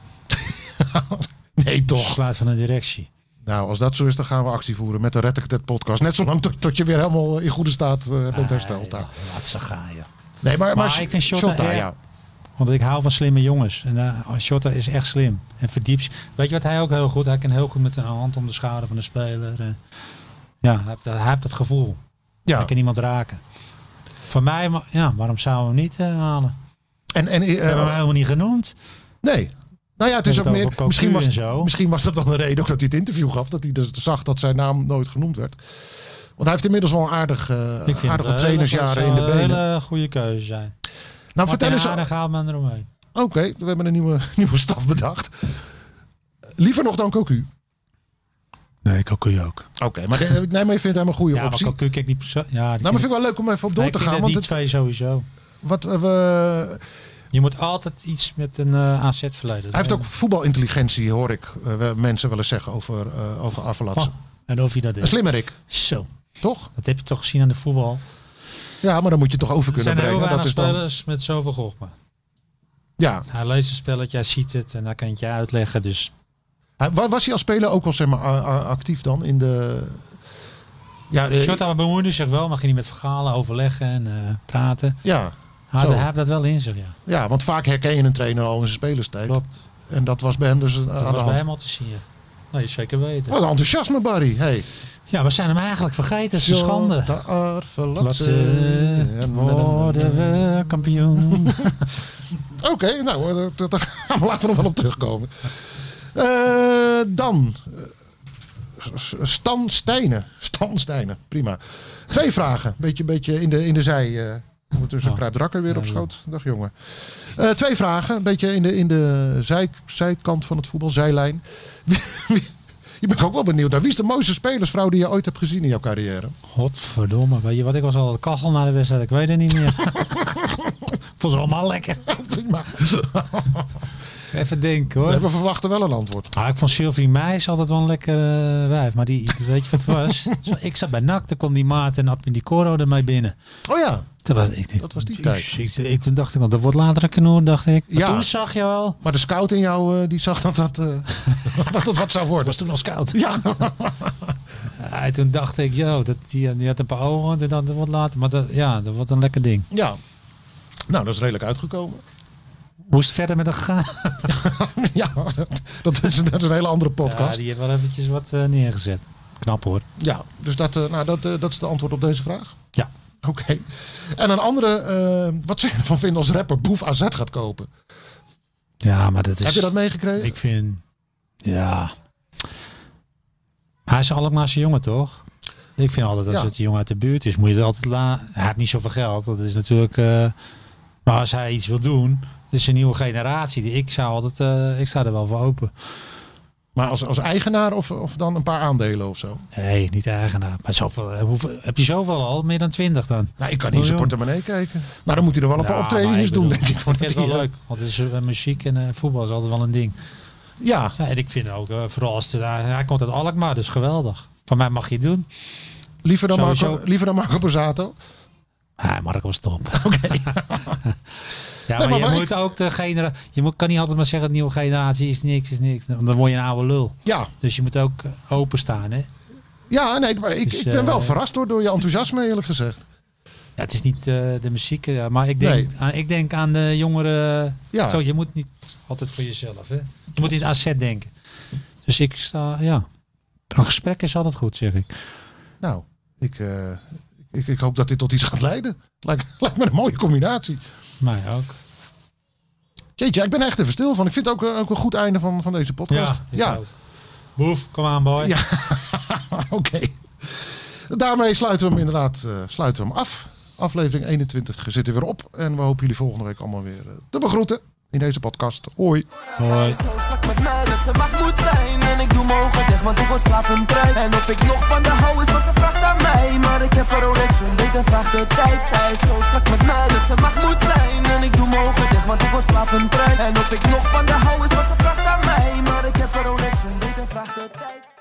[SPEAKER 4] nee toch.
[SPEAKER 3] Sluit van de directie.
[SPEAKER 4] Nou, als dat zo is, dan gaan we actie voeren met de Red ik Het podcast. Net zolang tot, tot je weer helemaal in goede staat eh, bent hersteld. daar.
[SPEAKER 3] Ah, laat ze gaan, ja.
[SPEAKER 4] Nee, maar, maar,
[SPEAKER 3] ik vind Shota
[SPEAKER 4] Shota,
[SPEAKER 3] echt-
[SPEAKER 4] ja.
[SPEAKER 3] Want ik hou van slimme jongens. En eh Shota is echt slim. En verdiept. Weet je wat hij ook heel goed... Hij kan heel goed met een hand om de schouder van de speler. En, ja, hij heeft, dat- hij heeft dat gevoel.
[SPEAKER 4] ja.
[SPEAKER 3] Hij kan iemand raken. Van mij, ma- ja, waarom zouden we hem niet eh, halen?
[SPEAKER 4] En, en, eh,
[SPEAKER 3] We hebben hem helemaal niet genoemd.
[SPEAKER 4] nee. Nou ja, het
[SPEAKER 3] We
[SPEAKER 4] is ook
[SPEAKER 3] hebben het
[SPEAKER 4] meer.
[SPEAKER 3] over Cocu
[SPEAKER 4] Misschien was,
[SPEAKER 3] en zo.
[SPEAKER 4] misschien was dat wel een reden ook dat hij het interview gaf. Dat hij dus zag dat zijn naam nooit genoemd werd. Want hij heeft inmiddels wel een aardig, eh,
[SPEAKER 3] Ik vind het
[SPEAKER 4] aardig wat
[SPEAKER 3] een hele-
[SPEAKER 4] trainersjaren
[SPEAKER 3] zou
[SPEAKER 4] in de
[SPEAKER 3] een
[SPEAKER 4] benen.
[SPEAKER 3] hele goede keuze zijn. Maar
[SPEAKER 4] Nou, vertel eens.
[SPEAKER 3] daar gaat men eromheen.
[SPEAKER 4] Oké, we hebben een nieuwe, nieuwe staf bedacht. Liever nog dan Cocu.
[SPEAKER 3] Nee, Cocu ook.
[SPEAKER 4] Oké, maar, de- nee, maar je vindt hem een goede
[SPEAKER 3] Ja, maar
[SPEAKER 4] optie. Nou,
[SPEAKER 3] Cocu kijk niet perso- Ja, die
[SPEAKER 4] maar vind ik wel leuk om even op door
[SPEAKER 3] Nee, ik
[SPEAKER 4] te
[SPEAKER 3] vind
[SPEAKER 4] gaan.
[SPEAKER 3] dat
[SPEAKER 4] Want
[SPEAKER 3] die
[SPEAKER 4] het,
[SPEAKER 3] twee sowieso.
[SPEAKER 4] wat eh, we,
[SPEAKER 3] Je moet altijd iets met een eh, AZ-verleden.
[SPEAKER 4] Hij heeft ook voetbalintelligentie, hoor ik eh, we- mensen wel eens zeggen over, eh over
[SPEAKER 3] Oh,
[SPEAKER 4] Avalatsen.
[SPEAKER 3] en of hij dat
[SPEAKER 4] Een
[SPEAKER 3] is.
[SPEAKER 4] slimmerik,
[SPEAKER 3] Zo.
[SPEAKER 4] toch?
[SPEAKER 3] Dat heb je toch gezien aan de voetbal.
[SPEAKER 4] Ja, maar dan moet je het toch over
[SPEAKER 3] Er
[SPEAKER 4] kunnen
[SPEAKER 3] zijn heel
[SPEAKER 4] brengen.
[SPEAKER 3] weinig
[SPEAKER 4] Dat is dan,
[SPEAKER 3] spelers met zoveel gochma.
[SPEAKER 4] ja.
[SPEAKER 3] Hij leest een spelletje, hij ziet het en hij kan het je uitleggen. Dus
[SPEAKER 4] Hij- wa- Was hij als speler ook al zeg maar, a- a- actief dan in de... Ja, eh,
[SPEAKER 3] Shota bemoeide zich wel, maar ging hij met verhalen overleggen en eh, praten.
[SPEAKER 4] ja,
[SPEAKER 3] Hij,
[SPEAKER 4] Zo.
[SPEAKER 3] hij heeft dat wel in zich, ja.
[SPEAKER 4] ja, want vaak herken je een trainer al in zijn spelerstijd.
[SPEAKER 3] Klopt.
[SPEAKER 4] En dat was bij hem dus aan
[SPEAKER 3] Dat
[SPEAKER 4] de
[SPEAKER 3] was bij
[SPEAKER 4] hand. Oh,
[SPEAKER 3] hem al te zien. ja. Nee, zeker weten.
[SPEAKER 4] Wat een enthousiasme, Barry. Hey.
[SPEAKER 3] Ja, we zijn hem eigenlijk vergeten. Het is een schande.
[SPEAKER 4] De Arvelatse.
[SPEAKER 3] Laten eh, worden we kampioen.
[SPEAKER 4] Oké, nou, eh, dat- dat- daar gaan we later nog wel op terugkomen. Eh, dan. eh, S- Stan Stijnen. Stan Stijnen, prima. Twee vragen. Beetje, beetje in, de, in de zij. eh ondertussen
[SPEAKER 3] Oh.
[SPEAKER 4] kruipt Rakker weer op
[SPEAKER 3] Ja,
[SPEAKER 4] schoot. Dag jongen. Eh, twee vragen. Een beetje in de, in de zij, zijkant van het voetbal, zijlijn. Wie, wie- Je bent ook wel benieuwd naar wie is de mooiste spelersvrouw die je ooit hebt gezien in jouw carrière?
[SPEAKER 3] Godverdomme, weet je wat? Ik was al de kachel na de wedstrijd, ik weet het niet meer. Vond ze allemaal lekker.
[SPEAKER 4] Prima.
[SPEAKER 3] Even denken hoor.
[SPEAKER 4] We verwachten wel een antwoord.
[SPEAKER 3] Ah, ik vond Sylvie Meijs altijd wel een lekker eh, wijf. Maar die, weet je wat het was? ik zat bij NAC, toen kwam die Maarten en Admin die Coro ermee binnen.
[SPEAKER 4] Oh ja,
[SPEAKER 3] Dat was, ik,
[SPEAKER 4] Dat was die tijd.
[SPEAKER 3] Ik, ik- toen dacht ik, want dat wordt later een knoer, dacht ik. Maar
[SPEAKER 4] Ja.
[SPEAKER 3] toen zag je al.
[SPEAKER 4] maar de scout in jou eh, die zag dat dat, eh, dat het wat zou worden. Was toen al scout. Ja,
[SPEAKER 3] Ja, eh, toen dacht ik, joh, dat, die, die had een paar ogen. Toen dacht ik, dat wordt later. Maar dat, ja, dat wordt een lekker ding.
[SPEAKER 4] ja. Nou, dat is redelijk uitgekomen.
[SPEAKER 3] Hoe is het verder met de gegaan?
[SPEAKER 4] ja, dat is, dat is een hele andere
[SPEAKER 3] Ja,
[SPEAKER 4] podcast. Ja,
[SPEAKER 3] die heeft wel eventjes wat eh, neergezet. Knap hoor.
[SPEAKER 4] dus dat, eh, nou, dat, eh, dat is de antwoord op deze vraag.
[SPEAKER 3] Ja.
[SPEAKER 4] Oké. En een andere, eh, wat zou je ervan vinden als rapper Boef AZ gaat kopen?
[SPEAKER 3] Ja, maar dat is...
[SPEAKER 4] Heb je dat meegekregen?
[SPEAKER 3] Ik vind... Ja. Hij is Alkmaarse jongen, toch? Ik vind altijd als
[SPEAKER 4] Ja.
[SPEAKER 3] het een jongen uit de buurt is, moet je het altijd laten. Hij heeft niet zoveel geld, dat is natuurlijk... eh, maar als hij iets wil doen, is een nieuwe generatie. Die ik zou altijd... eh, ik sta er wel voor open.
[SPEAKER 4] Maar als, als eigenaar of, of dan een paar aandelen of zo?
[SPEAKER 3] Nee, niet de eigenaar. Maar zoveel, eh, hoeveel- heb je zoveel al? Meer dan twintig dan?
[SPEAKER 4] Nou, ik kan niet in zijn
[SPEAKER 3] Miljoen.
[SPEAKER 4] portemonnee kijken. Nou, dan moet hij er wel een paar
[SPEAKER 3] Ja, maar
[SPEAKER 4] optredens
[SPEAKER 3] ik
[SPEAKER 4] doen,
[SPEAKER 3] bedoel,
[SPEAKER 4] denk ik.
[SPEAKER 3] Ik vind het wel leuk, want het is, eh, muziek en eh, voetbal is altijd wel een ding.
[SPEAKER 4] Ja,
[SPEAKER 3] Ja, en ik vind ook, eh, vooral als het, hij- hij komt uit Alkmaar, dus geweldig. Van mij mag je het doen.
[SPEAKER 4] liever dan, Marco,
[SPEAKER 3] Sowieso.
[SPEAKER 4] liever dan Marco Borsato.
[SPEAKER 3] Ah, Marco, stop. Oké. ja, maar,
[SPEAKER 4] maar
[SPEAKER 3] je
[SPEAKER 4] waar
[SPEAKER 3] moet ook de generatie... Je moet, kan niet altijd maar zeggen, de nieuwe generatie is niks, is niks. Want Dan word je een oude lul.
[SPEAKER 4] Ja,
[SPEAKER 3] Dus je moet ook eh, openstaan, hè.
[SPEAKER 4] ja nee, maar ik,
[SPEAKER 3] Dus,
[SPEAKER 4] ik ben wel
[SPEAKER 3] eh,
[SPEAKER 4] verrast door, door je enthousiasme, eerlijk gezegd.
[SPEAKER 3] Ja, het is niet eh, de muziek, eh, maar ik denk,
[SPEAKER 4] Nee.
[SPEAKER 3] aan, ik denk aan de jongeren.
[SPEAKER 4] Ja.
[SPEAKER 3] Zo, je moet niet altijd voor jezelf. Hè? Je moet in het asset denken. Dus ik sta, ja. Een gesprek is altijd goed, zeg ik.
[SPEAKER 4] Nou, ik, eh, ik, ik hoop dat dit tot iets gaat leiden. Lijkt, lijkt me een mooie combinatie.
[SPEAKER 3] Mij ook.
[SPEAKER 4] Jeetje, ik ben er echt even stil van. Ik vind het ook, eh, ook een goed einde van, van deze podcast.
[SPEAKER 3] ik ook. Boef, kom aan, boy.
[SPEAKER 4] Ja. oké. Daarmee sluiten we hem inderdaad eh, sluiten we hem af. Aflevering 21 zit er weer op. En we hopen jullie volgende week allemaal weer eh, te begroeten in deze podcast. Hoi.
[SPEAKER 3] Hoi.
[SPEAKER 7] Zo strak met mij dat ze mag moet zijn En ik doe mijn ogen dicht want ik wil slapen trein En of ik nog van de hou is wat ze vraagt aan mij Maar ik heb er ook niks om beter vraag de tijd Zij is zo strak met mij dat ze mag moet zijn En ik doe mijn ogen dicht want ik wil slapen trein En of ik nog van de hou is wat ze vraagt aan mij Maar ik heb er ook niks om beter vraag de tijd